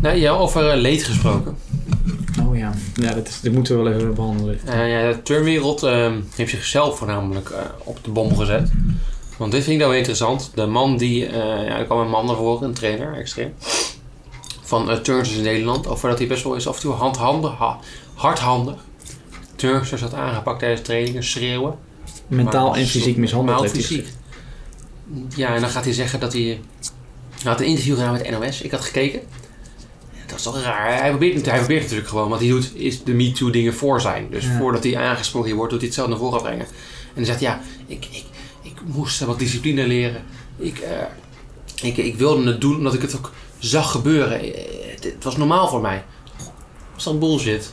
Speaker 5: Nou, ja, over eh, leed gesproken.
Speaker 1: Oh ja, ja dat, is, dit moeten we wel even behandelen.
Speaker 5: Eh, ja, de turnwereld eh, heeft zichzelf voornamelijk eh, op de bom gezet. Want dit vind ik dan wel interessant. De man die, eh, ja, er kwam een man naar voren, een trainer, extreem. Van eh turnsters in Nederland. Over dat hij best wel eens af en toe handhandig, ha- hardhandig. Turnsters had aangepakt tijdens trainingen, schreeuwen.
Speaker 1: Mentaal
Speaker 5: Maar-
Speaker 1: en fysiek mishandeld
Speaker 5: Mentaal
Speaker 1: heeft hij
Speaker 5: fysiek. Ja, en dan gaat hij zeggen dat hij... Hij had een interview gedaan met NOS. Ik had gekeken. Dat is toch raar. Hij probeert, het- hij probeert natuurlijk gewoon. Wat hij doet is de MeToo dingen voor zijn. Dus
Speaker 1: Ja.
Speaker 5: voordat hij aangesproken wordt, doet hij het zelf naar voren brengen. En dan zegt hij, ja, ik, ik, ik moest eh, wat discipline leren. Ik, eh, ik, ik wilde het doen omdat ik het ook zag gebeuren. Eh, Het, het was normaal voor mij. Dat is dan bullshit.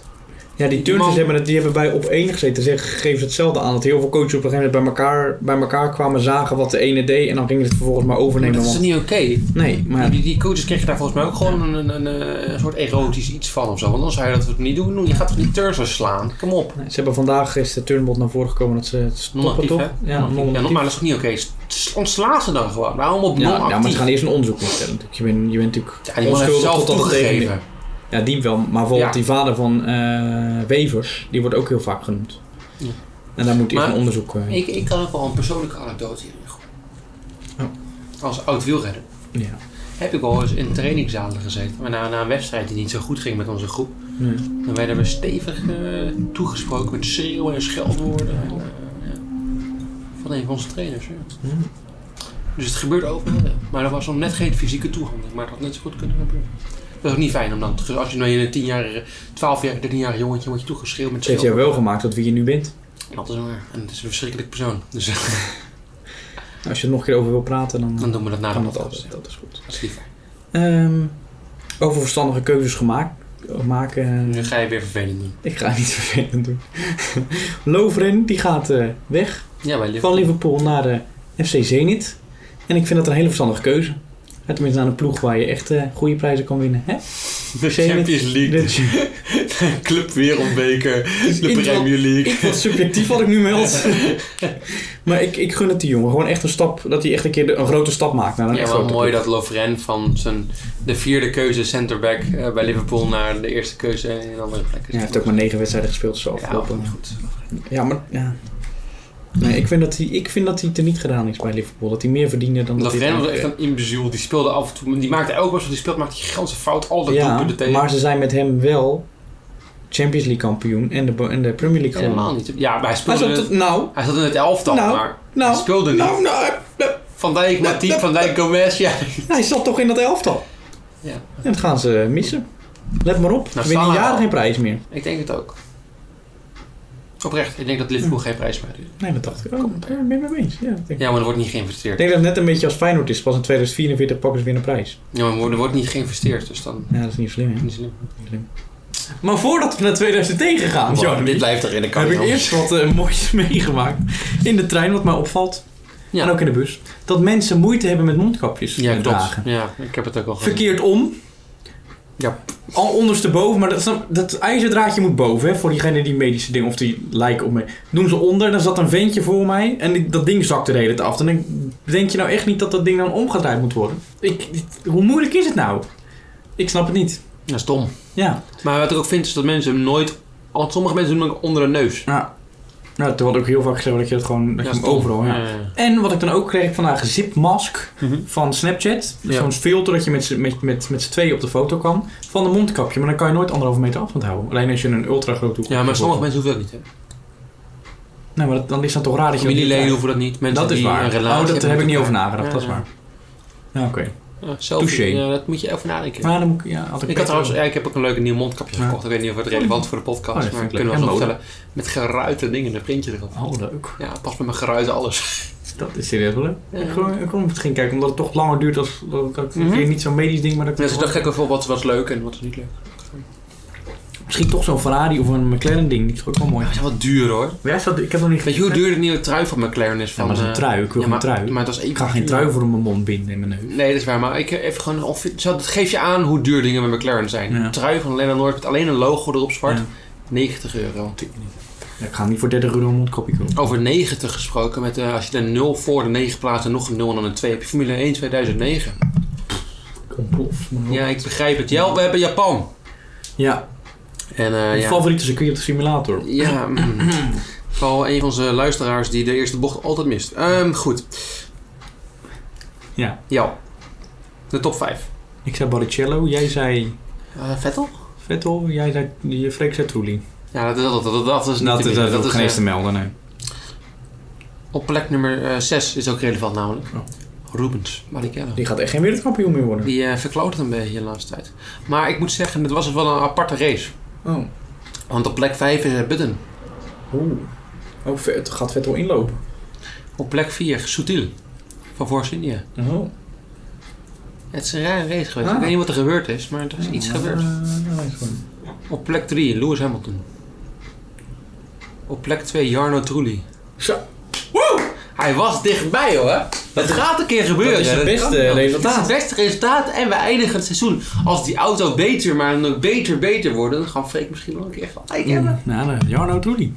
Speaker 1: Ja, die
Speaker 5: Die
Speaker 1: turnsters
Speaker 5: man-
Speaker 1: hebben, het- die hebben bij op één gezeten. Ze geven hetzelfde aan. Dat heel veel coaches op een gegeven moment bij elkaar, bij elkaar kwamen, zagen wat de ene deed. En dan gingen ze het vervolgens maar
Speaker 5: Maar
Speaker 1: overnemen.
Speaker 5: dat is toch
Speaker 1: Want...
Speaker 5: niet oké?
Speaker 1: Nee, maar
Speaker 5: Die, die coaches kregen daar volgens mij ook gewoon een, een, een, eh, soort erotisch iets van of zo. Want anders zou je dat het niet doen. Je gaat toch niet turnsters slaan? Kom op.
Speaker 1: nee, ze hebben vandaag is de turnbod naar voren gekomen dat ze het stoppen
Speaker 5: Non-actief,
Speaker 1: toch?
Speaker 5: hè?
Speaker 1: Ja,
Speaker 5: non Ja,
Speaker 1: non-actief.
Speaker 5: maar dat is toch niet oké? S- Ontsla ze dan gewoon. Waarom op
Speaker 1: Ja, nou, maar
Speaker 5: non-actief?
Speaker 1: ze gaan eerst een onderzoek doen stellen. natuurlijk. Je bent, je bent natuurlijk
Speaker 5: Ja, die man heeft zelf
Speaker 1: totdat het tegen-
Speaker 5: toegegeven.
Speaker 1: Ja, die wel. Maar bijvoorbeeld
Speaker 5: Ja.
Speaker 1: die vader van eh, Wevers, die wordt ook heel vaak genoemd.
Speaker 5: Ja.
Speaker 1: En daar moet eerst
Speaker 5: Maar
Speaker 1: een onderzoek... eh,
Speaker 5: Ik, ik kan ook wel een persoonlijke anekdote hierin gooien. Als oud wielrenner
Speaker 1: ja.
Speaker 5: heb ik al eens in trainingszalen gezeten. Maar na, na een wedstrijd die niet zo goed ging met onze groep.
Speaker 1: Nee.
Speaker 5: Dan werden we stevig eh, toegesproken met schreeuwen en scheldwoorden. En, eh, ja. Van een van onze trainers. Ja.
Speaker 1: Hmm.
Speaker 5: Dus het gebeurt overal. ja. Maar er was nog net geen fysieke toehandeling. Maar het had net zo goed kunnen gebeuren. Dat is ook niet fijn om dan. te- Als je nou in een 10-jarige, 12-jarige, 13-jarige jongetje wordt je toegeschreeuwd met
Speaker 1: Het heeft jou
Speaker 5: schreeuwen.
Speaker 1: wel gemaakt tot wie je nu bent.
Speaker 5: Dat is waar. En het is een verschrikkelijk persoon. Dus
Speaker 1: Als je er nog een keer over wil praten, dan,
Speaker 5: dan doen we dat na de
Speaker 1: kan dat
Speaker 5: podcast.
Speaker 1: altijd. Dat is goed.
Speaker 5: Dat is liever.
Speaker 1: Ehm, over verstandige keuzes gemaakt, maken.
Speaker 5: Nu ga je weer vervelend doen.
Speaker 1: Ik ga niet vervelend doen. Lovren die gaat eh, weg
Speaker 5: Ja, bij
Speaker 1: van
Speaker 5: Liverpool.
Speaker 1: Liverpool naar de FC Zenit. En ik vind dat een hele verstandige keuze. En Tenminste, naar een ploeg waar je echt eh, goede prijzen kan winnen. Hè?
Speaker 6: De
Speaker 1: Zenit.
Speaker 6: Champions League,
Speaker 1: Dus,
Speaker 6: de Club Wereldbeker, de
Speaker 1: in-
Speaker 6: Premier League.
Speaker 1: ik was subjectief wat ik nu meld. maar ik, ik gun het die jongen. Gewoon echt een stap, dat hij echt een keer de- een grote stap maakt. Naar een echt
Speaker 5: Ja, wel
Speaker 1: grote
Speaker 5: mooi
Speaker 1: ploeg.
Speaker 5: dat Lovren van zijn, de vierde keuze centerback eh, bij Liverpool naar de eerste keuze in een andere plek is.
Speaker 1: Ja, hij heeft ook maar negen wedstrijden gespeeld zo
Speaker 5: Ja,
Speaker 1: afgelopen.
Speaker 5: goed.
Speaker 1: Ja, maar ja. Nee, ik vind dat hij, ik vind dat hij te niet gedaan is bij Liverpool. Dat hij meer verdiende dan dat hij...
Speaker 5: Lovren was echt een imbeziel. Die speelde af en toe, die maakte elke wedstrijd die speelt, maakte die grootste fout. Al dat
Speaker 1: Ja,
Speaker 5: doelpunten tegen.
Speaker 1: maar ze zijn met hem wel Champions League kampioen en de, bo- en de Premier League
Speaker 5: helemaal
Speaker 1: gewonnen.
Speaker 5: niet. Ja, maar hij
Speaker 1: Hij zat
Speaker 5: speelde.
Speaker 1: tot- nou,
Speaker 5: hij zat in het elftal,
Speaker 1: Nou,
Speaker 5: maar
Speaker 1: nou,
Speaker 5: hij speelde niet.
Speaker 1: nou, nou, nou,
Speaker 5: Van Dijk, Matip, Van Dijk, Gomez, ja.
Speaker 1: hij zat toch in dat elftal.
Speaker 5: Ja.
Speaker 1: En dat gaan ze missen. Let maar op, ze winnen
Speaker 5: Salah.
Speaker 1: jaren geen prijs meer.
Speaker 5: Ik denk het ook. Oprecht, ik denk dat
Speaker 1: Hm.
Speaker 5: Liverpool geen prijs meer heeft.
Speaker 1: Nee, dat dacht ik. Oh, daar ben ik mee eens. Ja, dat denk ik.
Speaker 5: Ja, maar er wordt niet
Speaker 1: ik
Speaker 5: geïnvesteerd.
Speaker 1: denk dat het net een beetje als Feyenoord is. Pas in 2044 pakken ze weer een prijs.
Speaker 5: Ja, maar er wordt niet geïnvesteerd, dus dan...
Speaker 1: Ja, dat is niet slim, hè?
Speaker 5: niet slim.
Speaker 1: Maar voordat we naar 2009 gaan, Jordi,
Speaker 6: dit blijft erin, ik kan
Speaker 1: heb
Speaker 6: niet
Speaker 1: ik
Speaker 6: anders.
Speaker 1: eerst wat eh, moois meegemaakt. In de trein, wat mij opvalt.
Speaker 5: Ja.
Speaker 1: En ook in de bus. Dat mensen moeite hebben met mondkapjes
Speaker 5: Ja, klopt.
Speaker 1: dragen.
Speaker 5: Ja, ik heb het ook al gezien.
Speaker 1: Verkeerd om.
Speaker 5: Ja.
Speaker 1: Al ondersteboven, maar dat, snap- dat ijzerdraadje moet boven, hè, voor diegene die medische dingen of die lijken op me. Doen ze onder, dan zat een ventje voor mij en die- dat ding zakte de hele tijd af. Dan denk, denk je nou echt niet dat dat ding dan omgedraaid moet worden? Ik, dit- hoe moeilijk is het nou? Ik snap het niet.
Speaker 5: Dat is dom.
Speaker 1: Ja.
Speaker 5: Maar wat ik ook vind is dat mensen hem nooit... Want sommige mensen doen hem ook onder de neus.
Speaker 1: Nou, nou toen had ook heel vaak gezegd dat je het gewoon, dat
Speaker 5: Ja,
Speaker 1: je hem
Speaker 5: stom.
Speaker 1: overal, ja.
Speaker 5: Ja.
Speaker 1: En wat ik dan ook kreeg ik vandaag, een zipmask van Snapchat.
Speaker 5: Mhm. Ja.
Speaker 1: Zo'n filter dat je met, z'n- met, met, met z'n tweeën op de foto kan. Van een mondkapje, maar dan kan je nooit anderhalve meter afstand houden. Alleen als je een ultra groot hoek
Speaker 5: Ja, maar sommige mensen hoeven dat niet. Hè?
Speaker 1: Nee, maar dat, dan is dat toch raar dat je... dat niet
Speaker 5: Familieleden
Speaker 1: krijgt.
Speaker 5: hoeven dat niet. Mensen
Speaker 1: Dat is
Speaker 5: die
Speaker 1: waar.
Speaker 5: een relatie
Speaker 1: Oh, dat
Speaker 5: hebben
Speaker 1: daar heb ik
Speaker 5: met
Speaker 1: niet over
Speaker 5: elkaar.
Speaker 1: nagedacht,
Speaker 5: Ja,
Speaker 1: dat is
Speaker 5: ja.
Speaker 1: waar. Ja, oké.
Speaker 5: Ja, zelf,
Speaker 1: Touché.
Speaker 5: ja, dat moet je even nadenken.
Speaker 1: Maar dan moet ik... Ja, had ik
Speaker 5: Ik had
Speaker 1: beter-
Speaker 5: trouwens, ja, ik heb ook een leuk nieuw mondkapje
Speaker 1: Ja.
Speaker 5: gekocht. Ik weet niet of het relevant is voor de
Speaker 1: Oh,
Speaker 5: podcast
Speaker 1: dat
Speaker 5: maar
Speaker 1: vind ik
Speaker 5: kunnen we
Speaker 1: leuk.
Speaker 5: ons
Speaker 1: En
Speaker 5: opstellen. Met geruite dingen, een printje erop.
Speaker 1: Oh, leuk.
Speaker 5: Ja, pas met mijn geruiten alles.
Speaker 1: Dat is serieus wel leuk.
Speaker 5: Ja.
Speaker 1: Ik gewoon- Ik kon het geen kijken, omdat het toch langer duurt als... Dat, dat,
Speaker 5: Mhm.
Speaker 1: weer Niet zo'n medisch ding, maar dat...
Speaker 5: Dus ik dacht ik wel wat was leuk en wat is niet leuk.
Speaker 1: Misschien toch zo'n Ferrari of een McLaren ding. Die is ook wel mooi.
Speaker 5: Maar het is wel duur hoor.
Speaker 1: Ja, is dat, ik heb nog niet
Speaker 5: Weet je hoe duur de nieuwe trui van McLaren is?
Speaker 1: Ja,
Speaker 5: Van,
Speaker 1: maar dat is een
Speaker 5: eh,
Speaker 1: trui. Ik wil
Speaker 5: ja,
Speaker 1: geen
Speaker 5: maar,
Speaker 1: trui.
Speaker 5: Maar dat is even
Speaker 1: Ik ga geen
Speaker 5: duur.
Speaker 1: trui voor in mijn mond binden in mijn neus.
Speaker 5: Nee, dat is waar. Maar ik eh, even gewoon, of, zo, dat geeft je aan hoe duur dingen met McLaren zijn.
Speaker 1: Ja.
Speaker 5: Een trui van Lennart Noord met alleen een logo erop zwart.
Speaker 1: Ja.
Speaker 5: 90 euro.
Speaker 1: Ja, ik ga niet voor 30 euro een mondkapje kopen.
Speaker 5: Over 90 gesproken, met, eh, als je de 0 voor de 9 plaatst en nog een 0 en dan een 2, heb je Formule 1 2009.
Speaker 1: ontploft. Maar-
Speaker 5: Ja, ik begrijp het. Ja, we hebben Japan.
Speaker 1: Ja,
Speaker 5: En eh
Speaker 1: mijn
Speaker 5: ja,
Speaker 1: favoriete circuit op de simulator.
Speaker 5: ja mm. vooral een van onze luisteraars die de eerste bocht altijd mist. Ehm, goed.
Speaker 1: Ja.
Speaker 5: Ja. De top 5.
Speaker 1: Ik zei Baricello, jij zei
Speaker 5: Eh, Vettel?
Speaker 1: Vettel, jij zei je Freek zei Trulli.
Speaker 5: Ja, dat, dat, dat, dat is niet te min. dat is, eh,
Speaker 1: melden, nee.
Speaker 5: Op plek nummer 6 is ook relevant namelijk. Rubens, Barrichello.
Speaker 1: Die gaat echt geen wereldkampioen meer worden.
Speaker 5: Die eh verkloot het een beetje de laatste tijd. Maar ik moet zeggen, het was wel een aparte race.
Speaker 1: Oh.
Speaker 5: Want op plek 5 is eh, Button.
Speaker 1: Oeh. Oh, het gaat Vettel inlopen.
Speaker 5: Op plek 4 Sutil van Force India.
Speaker 1: Oh.
Speaker 5: Het is een rare race geweest.
Speaker 1: Ah.
Speaker 5: Ik weet niet wat er gebeurd is, maar er is iets gebeurd. Op plek 3 Lewis Hamilton. Op plek 2 Jarno Trulli.
Speaker 1: Zo.
Speaker 5: Hij was dichtbij hoor. Dat gaat een keer gebeuren.
Speaker 1: dat is het beste
Speaker 5: kan wel.
Speaker 1: resultaat.
Speaker 5: Dat is het beste resultaat. En we eindigen het seizoen. Als die auto beter, maar nog beter, beter worden, dan gaan Freek misschien wel een keer van. Ik hebben.
Speaker 1: Nou, nou, Jarno Trulli.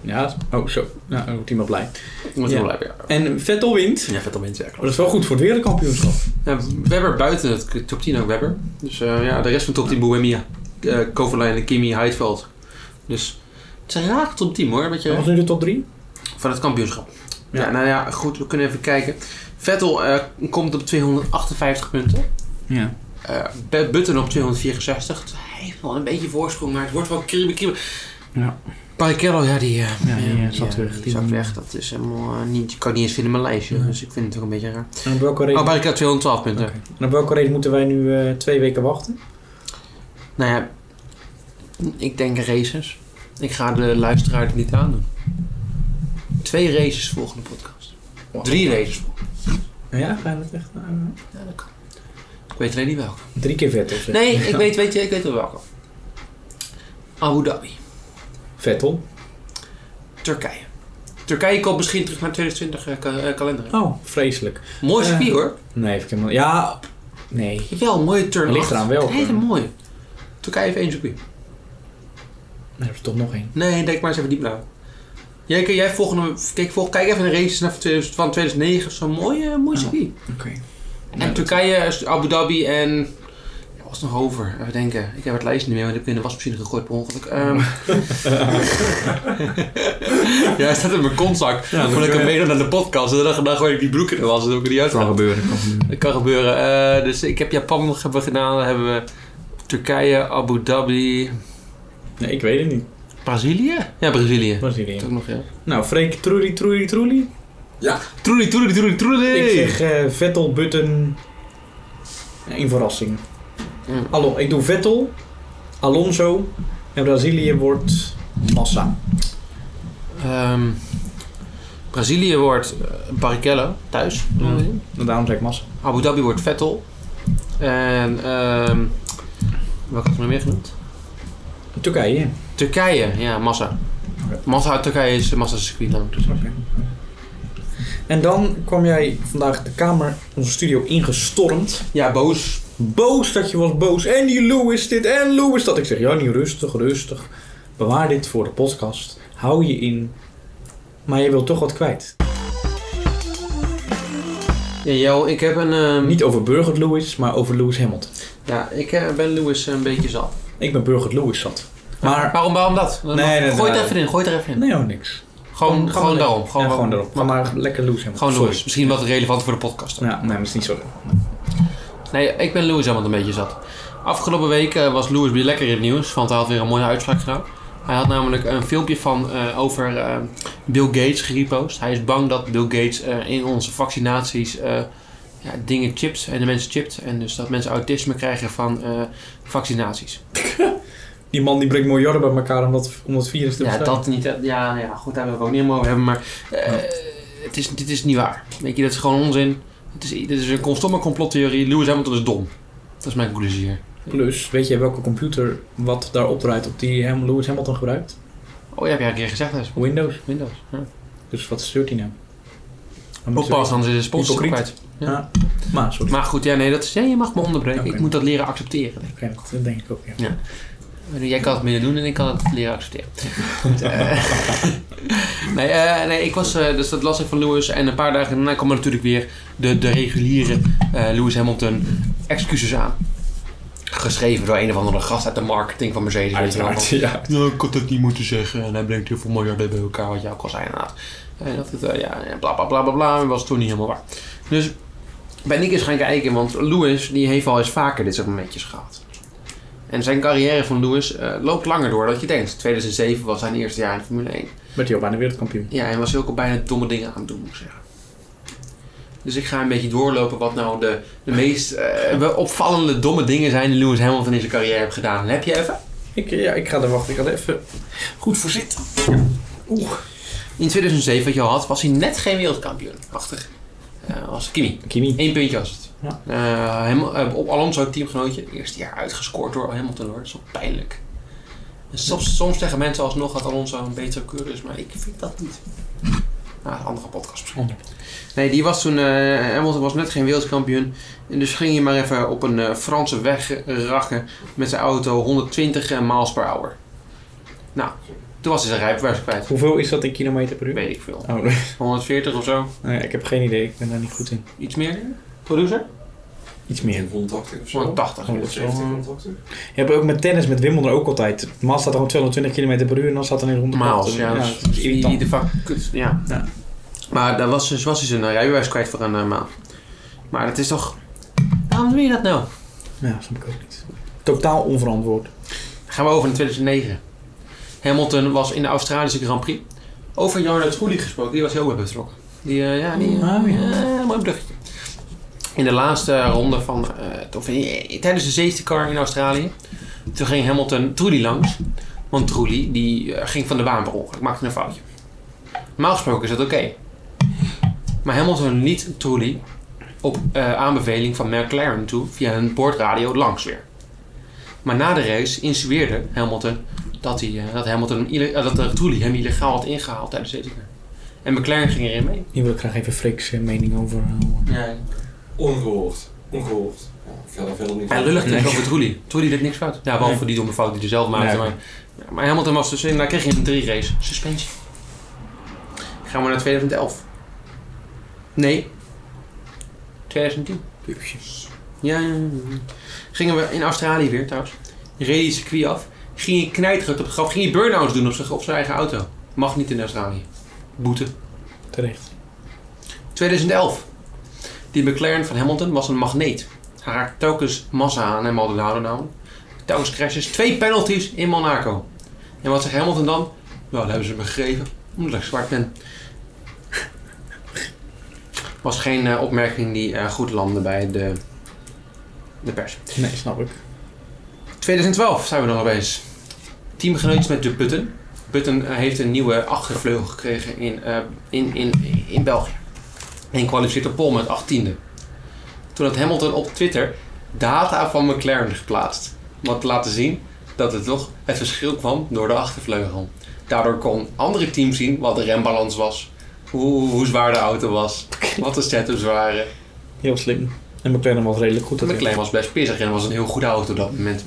Speaker 1: Ja, dat is- oh zo. Nou, dan wordt iemand blij.
Speaker 5: Ik moet
Speaker 1: Ja.
Speaker 5: wel blijven. Ja,
Speaker 1: En Vettel wint.
Speaker 5: ja vet om in te
Speaker 1: Maar dat is wel goed voor het wereldkampioenschap.
Speaker 5: Webber buiten het top 10 ook Webber. Dus eh, ja, de rest van top 10 Bohemia. eh Kovalainen, Kimi, Heidveld. Dus het is een raar top 10 hoor. Beetje,
Speaker 1: Dat was nu de top 3.
Speaker 5: Van het kampioenschap.
Speaker 1: Ja.
Speaker 5: Ja. nou ja, goed, we kunnen even kijken. Vettel eh, komt op 258 punten.
Speaker 1: Ja.
Speaker 5: Eh, B- Button op 264. Dus hij heeft wel een beetje voorsprong, maar het wordt wel kriebel kriebel.
Speaker 1: Ja.
Speaker 5: Barrichello, ja, die... eh,
Speaker 1: Ja, die, eh, zat
Speaker 5: eh,
Speaker 1: terug.
Speaker 5: Die,
Speaker 1: Die-
Speaker 5: zat weg. Dat is helemaal eh, niet... Ik kan het niet eens vinden in mijn lijstje, dus ik vind het ook een beetje raar.
Speaker 1: En op welke race,
Speaker 5: Oh, Barrichello 212 punten.
Speaker 1: en op welke race moeten wij nu eh, twee weken wachten?
Speaker 5: Nou ja, ik denk races. Ik ga de luisteraar het niet aandoen. Twee races volgende podcast.
Speaker 1: Wow.
Speaker 5: Drie races volgende.
Speaker 1: Ja, ga je dat echt? eh,
Speaker 5: Ja, dat kan. Ik weet alleen niet welke.
Speaker 1: drie keer eh, Vettel. zeg.
Speaker 5: Nee, ik weet, weet je, ik weet wel welke. Abu Dhabi,
Speaker 1: Vettel.
Speaker 5: Turkije. Turkije komt misschien terug naar 2020 eh, ka- eh, kalender.
Speaker 1: Oh, vreselijk.
Speaker 5: Mooi
Speaker 1: eh,
Speaker 5: circuit hoor.
Speaker 1: Nee, even helemaal. Ja, nee.
Speaker 5: Wel, een mooie turn.
Speaker 1: Ligt eraan welke.
Speaker 5: Een hele mooie. Turkije heeft één circuit.
Speaker 1: Er is toch nog één.
Speaker 5: Nee, denk maar eens even diep na. Jij, jij volgende, kijk, volg, kijk even naar races naar 2000 van 2009. Zo'n mooie, eh, mooi circuit.
Speaker 1: Oké.
Speaker 5: En Turkije, eh, Abu Dhabi en... Ja, Wat was nog over? Even denken. Ik heb het lijstje niet meer, want ik heb in de wasmachine gegooid per ongeluk. Ehm. ja, hij staat in mijn kontzak.
Speaker 1: Ja,
Speaker 5: Ja,
Speaker 1: dat
Speaker 5: ik
Speaker 1: kan-
Speaker 5: hem meenam naar de podcast. En dan, dan gooi ik die broek in de was. Dat ik die uit.
Speaker 1: Kan gebeuren. Kan gebeuren.
Speaker 5: Dat kan gebeuren. Eh, dus ik heb Japan nog hebben we gedaan. Dan hebben we Turkije, Abu Dhabi...
Speaker 1: Nee, ik weet het niet.
Speaker 5: Brazilië? Ja, Brazilië.
Speaker 1: Was
Speaker 5: Dat
Speaker 1: hier
Speaker 5: ook nog, ja.
Speaker 1: Nou, Freek, Troelie, Troelie, Troelie.
Speaker 5: Troelie, troelie, troelie,
Speaker 1: Ik
Speaker 5: troelie!
Speaker 1: zeg eh, Vettel, Button. Ja, Een verrassing.
Speaker 5: Mm.
Speaker 1: Allo, ik doe Vettel, Alonso en Brazilië wordt Massa.
Speaker 5: Ehm, Brazilië wordt eh, Barrichello, thuis.
Speaker 1: En Nou, daarom zeg ik Massa.
Speaker 5: Abu Dhabi wordt Vettel. En ehm welke had ik nog meer genoemd?
Speaker 1: Turkije.
Speaker 5: Turkije, ja, Massa.
Speaker 1: Oké.
Speaker 5: Massa uit Turkije is Massa circuit namelijk. Dus.
Speaker 1: En dan kwam jij vandaag de kamer, onze studio, ingestormd.
Speaker 5: Ja, boos.
Speaker 1: Boos dat je was boos. En die Lewis dit en Lewis dat. Ik zeg, Jannie, rustig, rustig. Bewaar dit voor de podcast. Hou je in. Maar je wilt toch wat kwijt.
Speaker 5: Ja, jou, ik heb een. ehm,
Speaker 1: Niet over Burgert Lewis, maar over Lewis Hamilton.
Speaker 5: Ja, ik eh, ben Lewis een beetje zat.
Speaker 1: Ik ben Burgert Lewis zat. Maar...
Speaker 5: Waarom, waarom dat? Dan
Speaker 1: Nee,
Speaker 5: mag-
Speaker 1: nee,
Speaker 5: gooi het
Speaker 1: nee.
Speaker 5: even in, gooi het er even in.
Speaker 1: Nee hoor, niks.
Speaker 5: Gewoon,
Speaker 1: Ga
Speaker 5: gewoon
Speaker 1: maar-
Speaker 5: daarom.
Speaker 1: Ja, gewoon daarom. Ga
Speaker 5: Gewoon,
Speaker 1: maar lekker Lewis Hamilton.
Speaker 5: gewoon
Speaker 1: Sorry.
Speaker 5: Lewis. Misschien wat relevant voor de podcast.
Speaker 1: Ja, nee, maar het is niet zo.
Speaker 5: Nee, ik ben Lewis helemaal een beetje zat. Afgelopen week eh, was Lewis weer lekker in het nieuws, want hij had weer een mooie uitspraak gedaan. Hij had namelijk een filmpje van, eh, over eh, Bill Gates gerepost. Hij is bang dat Bill Gates eh, in onze vaccinaties eh, ja, dingen chipt en de mensen chipt. En dus dat mensen autisme krijgen van eh, vaccinaties.
Speaker 1: Die man die brengt miljarden bij elkaar om dat, om dat virus te
Speaker 5: Ja,
Speaker 1: bestrijden.
Speaker 5: dat niet. eh, Ja, ja, goed, daar willen we ook niet helemaal over hebben. Maar eh, het is, dit is niet waar. Weet je, dat is gewoon onzin. Het is, dit is een constomme complottheorie. Lewis Hamilton is dom. Dat is mijn conclusie hier.
Speaker 1: Plus, weet je welke computer wat daar opdraait op die Ham Lewis Hamilton gebruikt?
Speaker 5: Oh, ja, heb jij een keer gezegd, dat is
Speaker 1: Windows.
Speaker 5: Windows. Ja.
Speaker 1: Dus wat stuurt hij nou? Dan moeten we-
Speaker 5: Oppas, anders is de sponsor
Speaker 1: Hypocriet.
Speaker 5: kwijt. ja.
Speaker 1: Ja. Oh, Maar, sorry.
Speaker 5: Maar goed, ja, nee, dat is, ja, je mag me onderbreken.
Speaker 1: Oké.
Speaker 5: Ik moet dat leren accepteren. denk ik.
Speaker 1: Oké, dat denk ik ook, ja.
Speaker 5: Jij kan het meer doen en ik kan het leren accepteren. Goed, eh, nee, eh, nee, ik was, eh, dus dat las ik van Lewis. En een paar dagen daarna kwam er natuurlijk weer de, de reguliere eh, Lewis Hamilton excuses aan. Geschreven door een of andere gast uit de marketing van Mercedes. weet je wel.
Speaker 1: Uiteraard, ja.
Speaker 5: Ja, ik had het niet moeten zeggen. En hij brengt heel veel miljarden bij elkaar, wat jij ook al zei inderdaad. En dat het, eh, ja, en bla bla bla bla bla, en was toen niet helemaal waar. Dus ben ik eens gaan kijken, want Lewis die heeft al eens vaker dit soort momentjes gehad. En zijn carrière van Lewis eh, loopt langer door dan je denkt. 2007 was zijn eerste jaar in Formule 1.
Speaker 1: Werd hij al bijna wereldkampioen.
Speaker 5: Ja, en was hij ook al bijna domme dingen aan het doen, moet ik zeggen. Dus ik ga een beetje doorlopen wat nou de, de meest eh, opvallende domme dingen zijn die Lewis Hamilton in zijn carrière heeft gedaan. Heb je even?
Speaker 1: Ik, ja, ik ga er wachten. Ik had even goed voor zitten.
Speaker 5: In 2007, wat je al had, was hij net geen wereldkampioen. Achter eh was Kimi.
Speaker 1: Kimi.
Speaker 5: Eén puntje was het.
Speaker 1: Ja.
Speaker 5: Eh, Hamil- eh, op Alonso, teamgenootje, eerste jaar uitgescoord door Hamilton hoor. Dat is wel pijnlijk. En soms, soms zeggen mensen alsnog dat Alonso een betere keur is, maar ik vind dat niet. Nou, een andere podcast misschien. Nee, die was toen, eh, Hamilton was net geen wereldkampioen. En dus ging hij maar even op een eh, Franse weg rakken met zijn auto 120 miles per hour. Nou, toen was hij zijn rijbewijs kwijt.
Speaker 1: Hoeveel is dat in kilometer per uur?
Speaker 5: Weet ik veel.
Speaker 1: Oh, nee.
Speaker 5: 140 of zo.
Speaker 1: Nee, ik heb geen idee. Ik ben daar niet goed in.
Speaker 5: Iets meer? Producer?
Speaker 1: Iets meer.
Speaker 4: 180 of zo.
Speaker 5: 180.
Speaker 1: Oh, dat is wel, eh,
Speaker 4: 70, 180.
Speaker 1: Je hebt ook met tennis, met Wimbledon ook altijd. Maal staat er gewoon 220 km per uur en dan staat er in 100
Speaker 5: Maals, ja.
Speaker 1: ja
Speaker 5: dat
Speaker 1: dat is
Speaker 5: is die-
Speaker 1: irritant.
Speaker 5: die de vak, ja.
Speaker 1: Ja.
Speaker 5: Maar daar was, dus was hij zijn rijbewijs kwijt voor een eh, maand. Maar dat is toch... Waarom doe je dat nou?
Speaker 1: Ja, dat snap ik ook niet. Totaal onverantwoord.
Speaker 5: Dan gaan we over naar 2009. Hamilton was in de Australische Grand Prix. Over Jarno Trulli gesproken, die was heel erg betrokken. Die, eh, ja, die, eh,
Speaker 1: Oh, ja.
Speaker 5: eh, mooi bruggetje. In de laatste ronde van, eh, of in- tijdens de safety car in Australië, toen ging Hamilton Trulli langs. Want Trulli die eh, ging van de baan per ongeluk, maakte een foutje. Normaal gesproken is dat oké. Maar Hamilton liet Trulli op eh, aanbeveling van McLaren toe via een boordradio langs weer. Maar na de race insinueerde Hamilton dat, hij, eh, dat, Hamilton hem ille- eh, dat de Trulli hem illegaal had ingehaald tijdens de safety car. En McLaren ging erin mee.
Speaker 1: Hier wil ik graag even Frik's eh, mening over horen.
Speaker 5: Ja.
Speaker 4: Ongehoord. Ongehoord. Ja, ik ga daar verder niet
Speaker 5: Hij lullig
Speaker 4: over.
Speaker 5: tegen over Trulli. Trulli deed niks fout. Ja, behalve
Speaker 1: Nee.
Speaker 5: die domme fout die hij zelf maakte.
Speaker 1: Nee.
Speaker 5: Maar, ja, maar Hamilton was dus in, daar kreeg hij een drie race suspensie. Gaan we naar 2011. Nee. 2010. Ja, ja, ja, ja. Gingen we in Australië weer trouwens. Reed hij het circuit af. Ging hij knijterend op het graf. Ging hij burn-outs doen op zijn, op zijn eigen auto. Mag niet in Australië. Boete.
Speaker 1: Terecht.
Speaker 5: 2011. Die McLaren van Hamilton was een magneet. Hij raakte telkens massa aan en Maldonado nou. Telkens crashes. Twee penalties in Monaco. En wat zegt Hamilton dan? Nou, dat hebben ze me gegeven. Omdat ik zwart ben. Was geen eh, opmerking die eh, goed landde bij de, de pers.
Speaker 1: Nee, snap ik.
Speaker 5: 2012 zijn we dan opeens. Teamgenootjes met de Button. Button eh, heeft een nieuwe achtervleugel gekregen in, eh, in, in, in België. En kwalificeert op pol met 18e. Toen had Hamilton op Twitter data van McLaren geplaatst. Om te laten zien dat het toch het verschil kwam door de achtervleugel. Daardoor kon andere teams zien wat de rembalans was. Hoe, hoe zwaar de auto was. Wat de setups waren.
Speaker 1: Heel slim. En McLaren was redelijk goed.
Speaker 5: De
Speaker 1: dat
Speaker 5: McLaren was best pissig en was een heel goede auto op dat moment.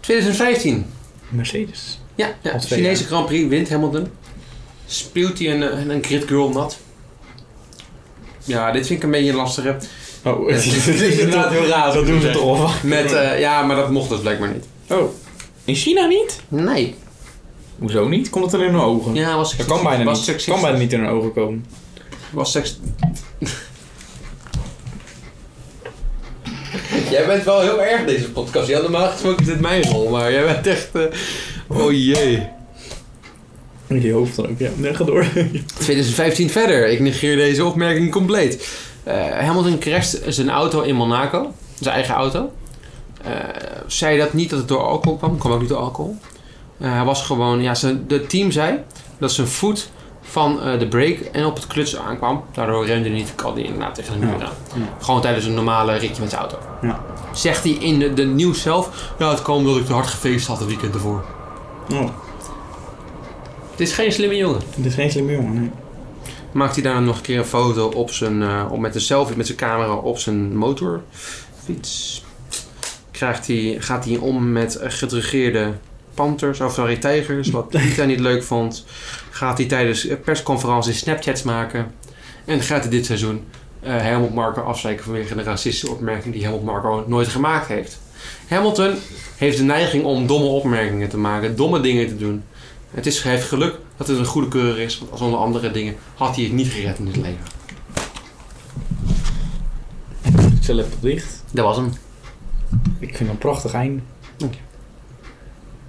Speaker 5: 2015.
Speaker 1: jaar. Mercedes.
Speaker 5: Ja, ja
Speaker 1: Al twee
Speaker 5: Chinese
Speaker 1: jaar.
Speaker 5: Grand Prix wint Hamilton. Speelt hij een, eh, een grid girl nat. Ja, dit vind ik een beetje lastig. hè.
Speaker 1: Oh,
Speaker 5: dit is inderdaad heel raar.
Speaker 1: Dat doen ze toch wel.
Speaker 5: Met, eh, ja, maar dat mocht dus blijkbaar niet.
Speaker 1: Oh. In China niet?
Speaker 5: Nee.
Speaker 1: Hoezo niet? Komt het er in hun ogen?
Speaker 5: Ja, was
Speaker 1: Dat kan bijna
Speaker 5: was
Speaker 1: niet.
Speaker 5: seksistisch.
Speaker 1: Kan bijna niet in hun ogen komen.
Speaker 5: Was seks...
Speaker 6: Jij bent wel heel erg deze podcast. Je had normaal gesproken dit mijn rol, maar jij bent echt... eh, oh jee.
Speaker 1: In je hoofd dan ook, ja. Nee, ga door.
Speaker 5: 2015 verder. Ik negeer deze opmerking compleet. Eh, Hamilton crasht zijn auto in Monaco. Zijn eigen auto. Eh, zei dat niet dat het door alcohol kwam. Kwam ook niet door alcohol. Eh, hij was gewoon... Ja, zijn, de team zei dat zijn voet van eh, de brake en op het kluts aankwam. Daardoor remde hij niet. Kan hij inderdaad tegen de muur aan. Gewoon tijdens een normale ritje met zijn auto.
Speaker 1: Ja.
Speaker 5: Zegt hij in de, de nieuws zelf... Nou, het kwam dat ik te hard gefeest had het weekend ervoor.
Speaker 1: Oh,
Speaker 5: Het is geen slimme jongen.
Speaker 1: dit is geen slimme jongen, nee.
Speaker 5: maakt hij daarna nog een keer een foto op zijn, eh, op, met een selfie met zijn camera op zijn motorfiets. Krijgt hij, gaat hij om met eh, gedrugeerde panters, of sorry, tijgers, wat Pita niet leuk vond. Gaat hij tijdens eh, persconferenties Snapchats maken. En gaat hij dit seizoen eh, Helmut Marco afzeiken vanwege een racistische opmerking die Helmut Marco nooit gemaakt heeft. Hamilton heeft de neiging om domme opmerkingen te maken, domme dingen te doen. Het is, hij heeft geluk dat het een goede keur is, want zonder andere dingen had hij het niet gered in het leven.
Speaker 1: Zijn laptop dicht.
Speaker 5: Dat was hem.
Speaker 1: Ik vind het een prachtig einde.
Speaker 5: Dank je.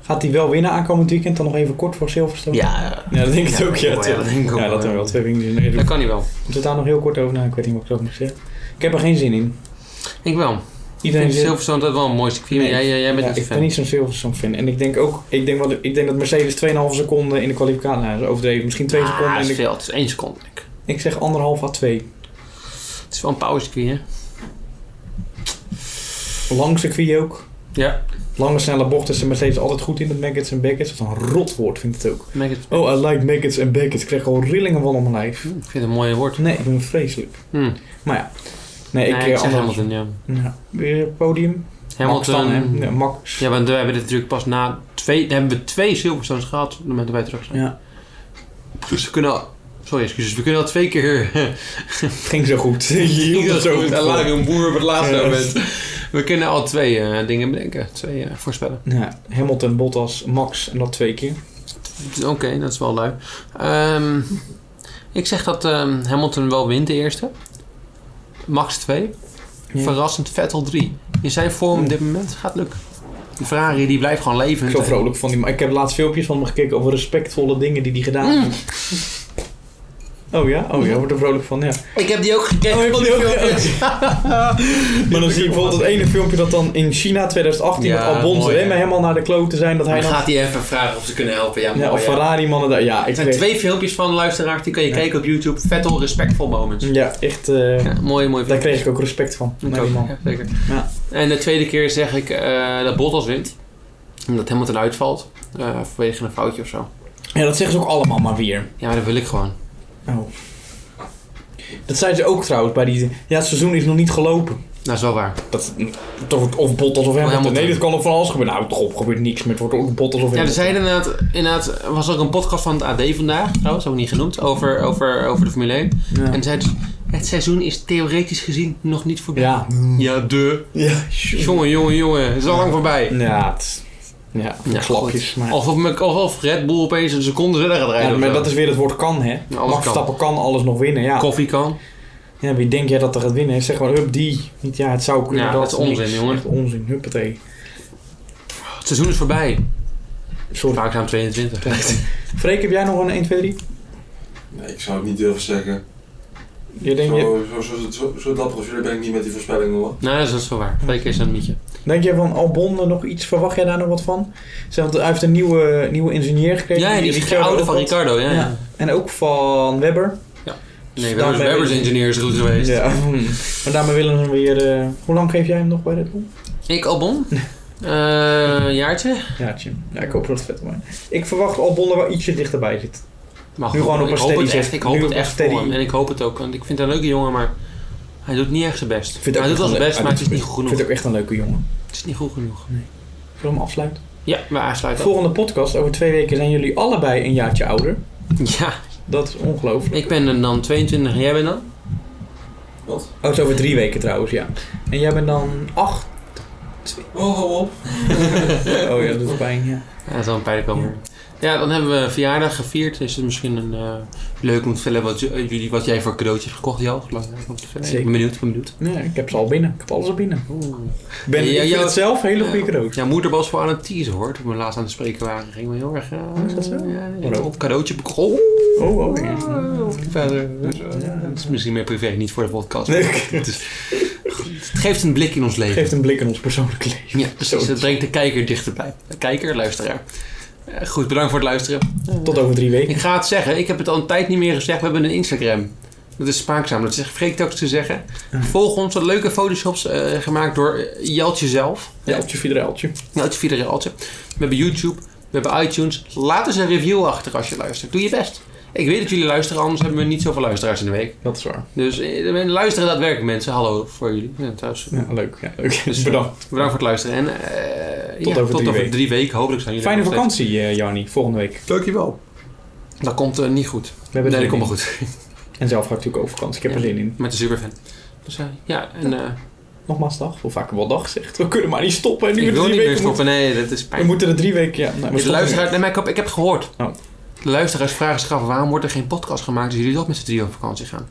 Speaker 1: Gaat hij wel winnen aankomend weekend? Dan nog even kort voor Silverstone?
Speaker 5: Ja,
Speaker 1: Ja, dat denk ik ook. Ja,
Speaker 5: dat denk ik ook
Speaker 1: Ja, dat dan wel. Twee vingers in de
Speaker 5: Dat
Speaker 1: neus.
Speaker 5: kan hij wel.
Speaker 1: Moet het daar nog heel kort over na? Ik weet niet wat ik zo moet zeggen. Ik heb er geen zin in.
Speaker 5: Ik wel. Ik
Speaker 1: Iedereen
Speaker 5: vind
Speaker 1: zit...
Speaker 5: Silverstone dat wel een mooi circuit, maar
Speaker 1: Nee.
Speaker 5: jij, jij, jij bent
Speaker 1: Ja,
Speaker 5: niet
Speaker 1: ik
Speaker 5: fan.
Speaker 1: ben niet zo'n Silverstone fan. En ik denk ook, ik denk, wel, ik denk dat Mercedes 2,5 seconden in de kwalificatie, nou, dat is overdreven, misschien 2 seconden.
Speaker 5: Ah,
Speaker 1: in
Speaker 5: dat
Speaker 1: de-
Speaker 5: is veel. Het is één seconde. denk ik.
Speaker 1: ik zeg 1,5 à 2.
Speaker 5: Het is wel een power circuit, hè?
Speaker 1: Lang circuit ook.
Speaker 5: Ja.
Speaker 1: Lange snelle bochten zijn Mercedes altijd goed in met maggots en backets. Wat een rot woord vind ik het ook.
Speaker 5: Maak het-
Speaker 1: Oh, I like maggots en backets. Ik krijg al rillingen van op mijn lijf.
Speaker 5: Ik vind het een mooi woord.
Speaker 1: Nee, ik ben vreselijk.
Speaker 5: Hm.
Speaker 1: Maar ja. Nee,
Speaker 5: Ik,
Speaker 1: ik,
Speaker 5: nee,
Speaker 1: eh,
Speaker 5: ik zeg
Speaker 1: anders-
Speaker 5: Hamilton, ja.
Speaker 1: Ja. Weer podium. Max
Speaker 5: Hamilton.
Speaker 1: dan, hè? Ja, Max.
Speaker 5: ja, want we hebben dit natuurlijk pas na twee... Daar hebben we twee Silverstones gehad op het moment dat wij terug zijn.
Speaker 1: Ja.
Speaker 5: Dus we kunnen al... Sorry, excuses. We kunnen al twee keer...
Speaker 1: Het ging zo goed. Je hield het zo goed
Speaker 6: En laat ik
Speaker 1: vol.
Speaker 6: een boer op het laatste
Speaker 1: Ja.
Speaker 6: moment.
Speaker 5: we kunnen al twee eh, dingen bedenken. Twee eh, voorspellen.
Speaker 1: Ja, Hamilton, Bottas, Max en dat twee keer.
Speaker 5: Oké, dat is wel lui. Ehm, ik zeg dat ehm, Hamilton wel wint de eerste. Max 2.
Speaker 1: Ja.
Speaker 5: Verrassend Vettel 3. In zijn vorm op dit moment gaat lukken. Die Ferrari die blijft gewoon leven.
Speaker 1: Ik ben zo vrolijk van die man. Ik heb laatst filmpjes van hem gekeken over respectvolle dingen die hij gedaan heeft. Oh ja? Oh ja, wordt er vrolijk van, ja.
Speaker 5: Ik heb die ook gekeken.
Speaker 1: Oh, heb je die ook gekeken? Maar dan zie je bijvoorbeeld dat ene filmpje dat dan in China 2018
Speaker 5: Ja,
Speaker 1: met Albon
Speaker 5: mooi,
Speaker 1: zijn remmen
Speaker 5: hè?
Speaker 1: helemaal naar de klote zijn. Dat hij
Speaker 5: Dan
Speaker 1: dan...
Speaker 5: gaat hij even vragen of ze kunnen helpen. Ja, mooi,
Speaker 1: Ja, of
Speaker 5: ja.
Speaker 1: Ferrari-mannen daar. Ja, ik
Speaker 5: Er zijn
Speaker 1: weet-
Speaker 5: twee filmpjes van luisteraars. Die kun je
Speaker 1: Ja.
Speaker 5: kijken op YouTube. Vettel Respectful Moments.
Speaker 1: Ja, echt... eh,
Speaker 5: Ja, mooi, mooi
Speaker 1: Daar
Speaker 5: filmpje.
Speaker 1: kreeg ik ook respect van.
Speaker 5: Ik
Speaker 1: naar
Speaker 5: ook,
Speaker 1: die man.
Speaker 5: ja, zeker.
Speaker 1: Ja.
Speaker 5: En de tweede keer zeg ik eh, dat Bottas wint. Omdat Hamilton uitvalt. eh, vanwege een foutje of zo.
Speaker 1: Ja, dat zeggen ze ook allemaal maar weer.
Speaker 5: Ja, maar dat wil ik gewoon.
Speaker 1: Oh. Dat zeiden ze ook trouwens bij die... Ja, het seizoen is nog niet gelopen.
Speaker 5: Dat is wel waar.
Speaker 1: Dat, toch, of
Speaker 5: Oh,
Speaker 1: Bottas of Hamilton.
Speaker 5: Hamilton.
Speaker 1: Nee, dat kan ook van alles gebeuren. Nou, toch op gebeurt niks meer. Het wordt ook Bottas of
Speaker 5: Ja, er
Speaker 1: Hamilton.
Speaker 5: zijn inderdaad, inderdaad, er was ook een podcast van het AD vandaag, trouwens, ook niet genoemd, over, over, over de Formule 1.
Speaker 1: Ja.
Speaker 5: En zeiden ze, het seizoen is theoretisch gezien nog niet voorbij.
Speaker 1: Ja.
Speaker 5: Ja, de.
Speaker 1: Ja.
Speaker 5: Jongen, jongen, jongen, het is al lang voorbij.
Speaker 1: Ja, het- ja,
Speaker 5: Ja,
Speaker 1: slapjes. Maar,
Speaker 5: Alsof, me- alsof Red Bull opeens een seconde verder gaat rijden.
Speaker 1: ja,
Speaker 5: of
Speaker 1: maar
Speaker 5: zo.
Speaker 1: dat is weer het woord kan, hè.
Speaker 5: Ja, alles
Speaker 1: Max
Speaker 5: kan.
Speaker 1: Verstappen kan alles nog winnen, ja.
Speaker 5: Koffie kan.
Speaker 1: Ja, wie denk jij dat er gaat winnen? Zeg maar, hup, die. Niet, ja, het zou kunnen.
Speaker 5: Ja, dat is onzin,
Speaker 1: niks.
Speaker 5: jongen.
Speaker 1: Echt onzin, huppatee.
Speaker 5: Het seizoen is voorbij.
Speaker 1: Sorry.
Speaker 5: Vaak zijn 22.
Speaker 1: Freek, heb jij nog een 1, 2, 3?
Speaker 4: Nee, ik zou het niet durven zeggen.
Speaker 1: Je denkt, je,
Speaker 4: Zo, zo, zo, zo, zo dapper als jullie ben ik niet met die voorspellingen hoor.
Speaker 5: nee, dat is- dat is wel waar. Twee keer is dat een mietje.
Speaker 1: denk jij van Albon er nog iets? Verwacht jij daar nog wat van? Zeg, want hij heeft een nieuwe, nieuwe ingenieur gekregen.
Speaker 5: Ja, die is de oude van
Speaker 1: ook wat.
Speaker 5: Ricardo, ja.
Speaker 1: Ja. En ook van Webber. Dus
Speaker 5: Nee,
Speaker 1: Daarmee
Speaker 5: Webbers, Webbers
Speaker 1: weet ik-
Speaker 5: engineer is goed geweest.
Speaker 1: Ja. Maar daarmee willen ze hem weer... eh, hoe lang geef jij hem nog bij Red Bull?
Speaker 5: Ik, Albon? Eh jaartje?
Speaker 1: Ja, Jim. Ja, ik hoop dat het vet wordt. Ik verwacht Albon er wel ietsje dichterbij zit.
Speaker 5: Maar
Speaker 1: Nu gewoon op
Speaker 5: ik
Speaker 1: een
Speaker 5: hoop
Speaker 1: steady
Speaker 5: het echt.
Speaker 1: zet.
Speaker 5: Ik hoop
Speaker 1: Nu
Speaker 5: het
Speaker 1: op een
Speaker 5: echt
Speaker 1: steady.
Speaker 5: voor hem. En ik hoop het ook. Want ik vind het een leuke jongen, maar hij doet niet echt zijn best.
Speaker 1: vind het
Speaker 5: hij
Speaker 1: ook Ah,
Speaker 5: doet wel
Speaker 1: echt
Speaker 5: zijn
Speaker 1: een
Speaker 5: best,
Speaker 1: leuk-
Speaker 5: maar het is niet
Speaker 1: Ik
Speaker 5: goed
Speaker 1: vind
Speaker 5: genoeg.
Speaker 1: het ook echt een leuke jongen.
Speaker 5: Het is niet goed genoeg.
Speaker 1: Zullen we hem afsluiten?
Speaker 5: Ja, we aansluiten.
Speaker 1: Volgende podcast. Over twee weken zijn jullie allebei een jaartje ouder.
Speaker 5: Ja,
Speaker 1: Dat is ongelooflijk.
Speaker 5: ik ben dan 22 en jij bent dan?
Speaker 4: Wat?
Speaker 1: Oh, het is over drie weken trouwens, ja. En jij bent dan acht.
Speaker 4: Oh, hou op.
Speaker 1: Oh ja, dat doet pijn, ja.
Speaker 5: Ja, dat is wel een pijnlijk moment. Ja, dan hebben we een verjaardag gevierd. Is het misschien een, eh, leuk om te vertellen wat, j- eh, jullie, wat jij voor cadeautjes hebt gekocht, Jal? Belangrijk om te vertellen. Ik
Speaker 1: Zeker.
Speaker 5: ben benieuwd, ik ben benieuwd.
Speaker 1: Nee, ik heb ze al binnen. Ik heb alles al binnen. Ik Ben,
Speaker 5: Ja,
Speaker 1: ik vind
Speaker 5: jou-
Speaker 1: het zelf een hele goede cadeautje.
Speaker 5: Ja, moeder was wel aan het teasen hoor. Toen we laatst aan het spreken waren, ging we heel erg... eh,
Speaker 1: Is dat zo?
Speaker 5: Ja,
Speaker 1: Oh, dat-
Speaker 5: op cadeautje bekocht.
Speaker 1: Oh, oh ja.
Speaker 5: Verder. Het is misschien meer privé, niet voor de podcast. maar Het, is- het geeft een blik in ons leven.
Speaker 1: Geeft een blik in ons persoonlijk leven.
Speaker 5: Ja, precies. Het brengt de kijker dichterbij. De kijker, luisteraar. Eh, Goed, bedankt voor het luisteren.
Speaker 1: Tot over drie weken.
Speaker 5: Ik ga het zeggen, ik heb het al een tijd niet meer gezegd. We hebben een Instagram. Dat is spaakzaam, dat zeg vergeet ik ook te zeggen. Volg ons, wat leuke photoshops eh, gemaakt door eh, Jeltje zelf.
Speaker 1: Jeltje, videreltje.
Speaker 5: Jeltje via de Jeltje. We hebben YouTube, we hebben iTunes. Laat eens een review achter als je luistert. Doe je best. Ik weet dat jullie luisteren, anders hebben we niet zoveel luisteraars in de week.
Speaker 1: Dat is waar.
Speaker 5: Dus eh, luisteren daadwerkelijk mensen. Hallo voor jullie ja, thuis.
Speaker 1: Ja, leuk. Ja, leuk.
Speaker 5: Dus, eh,
Speaker 1: Bedankt.
Speaker 5: Bedankt voor het luisteren. En eh,
Speaker 1: Tot
Speaker 5: ja,
Speaker 1: over
Speaker 5: tot
Speaker 1: drie
Speaker 5: over
Speaker 1: weken.
Speaker 5: drie weken. Hopelijk zijn jullie
Speaker 1: Fijne
Speaker 5: er nog steeds.
Speaker 1: vakantie, eh Jannie. Volgende week.
Speaker 5: Dankjewel. Dat komt eh, niet goed.
Speaker 1: hebben
Speaker 5: nee,
Speaker 1: het
Speaker 5: dat komt
Speaker 1: weer
Speaker 5: wel goed.
Speaker 1: En zelf ga ik natuurlijk ook vakantie. Ik heb
Speaker 5: Ja.
Speaker 1: er zin in.
Speaker 5: Met de superfan. Dus eh, ja, en eh,
Speaker 1: Nogmaals dag. Hoe vaak wel dag gezegd. We kunnen maar niet stoppen. En nu
Speaker 5: ik
Speaker 1: weer
Speaker 5: wil
Speaker 1: drie
Speaker 5: niet
Speaker 1: weken
Speaker 5: meer stoppen.
Speaker 1: moeten-
Speaker 5: Nee, dat is
Speaker 1: we
Speaker 5: pijn.
Speaker 1: moeten er drie weken... Ja, nou, we
Speaker 5: De
Speaker 1: stoppen
Speaker 5: luisteraars,
Speaker 1: nu.
Speaker 5: nee, maar ik, heb, ik heb gehoord.
Speaker 1: Oh.
Speaker 5: De luisteraars vragen zich af waarom wordt er geen podcast gemaakt als jullie dat met z'n drieën op vakantie gaan.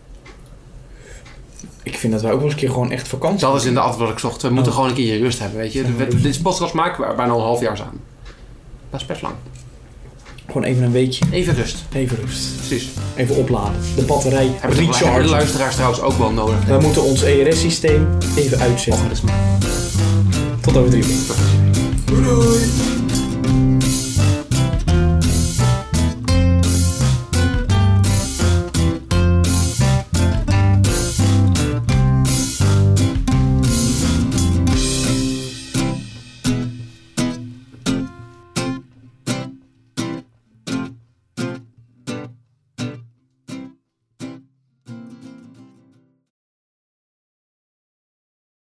Speaker 1: Ik vind dat wij ook wel eens een keer gewoon echt vakantie...
Speaker 5: Dat is in de antwoord wat ik zocht. We moeten gewoon een keer rust hebben, weet je. Oh. We- Dit is podcast maken we bijna al een half jaar samen. Dat is best lang.
Speaker 1: Gewoon even een weekje.
Speaker 5: Even rust.
Speaker 1: Even rust.
Speaker 5: Precies.
Speaker 1: Even opladen. De batterij
Speaker 5: Hebben de,
Speaker 1: rechargen.
Speaker 5: hebben de luisteraars trouwens ook wel nodig.
Speaker 1: Wij moeten ons E
Speaker 5: Oh,
Speaker 1: ERS-systeem even uitzetten. Tot over drie weken.
Speaker 4: Doei doei.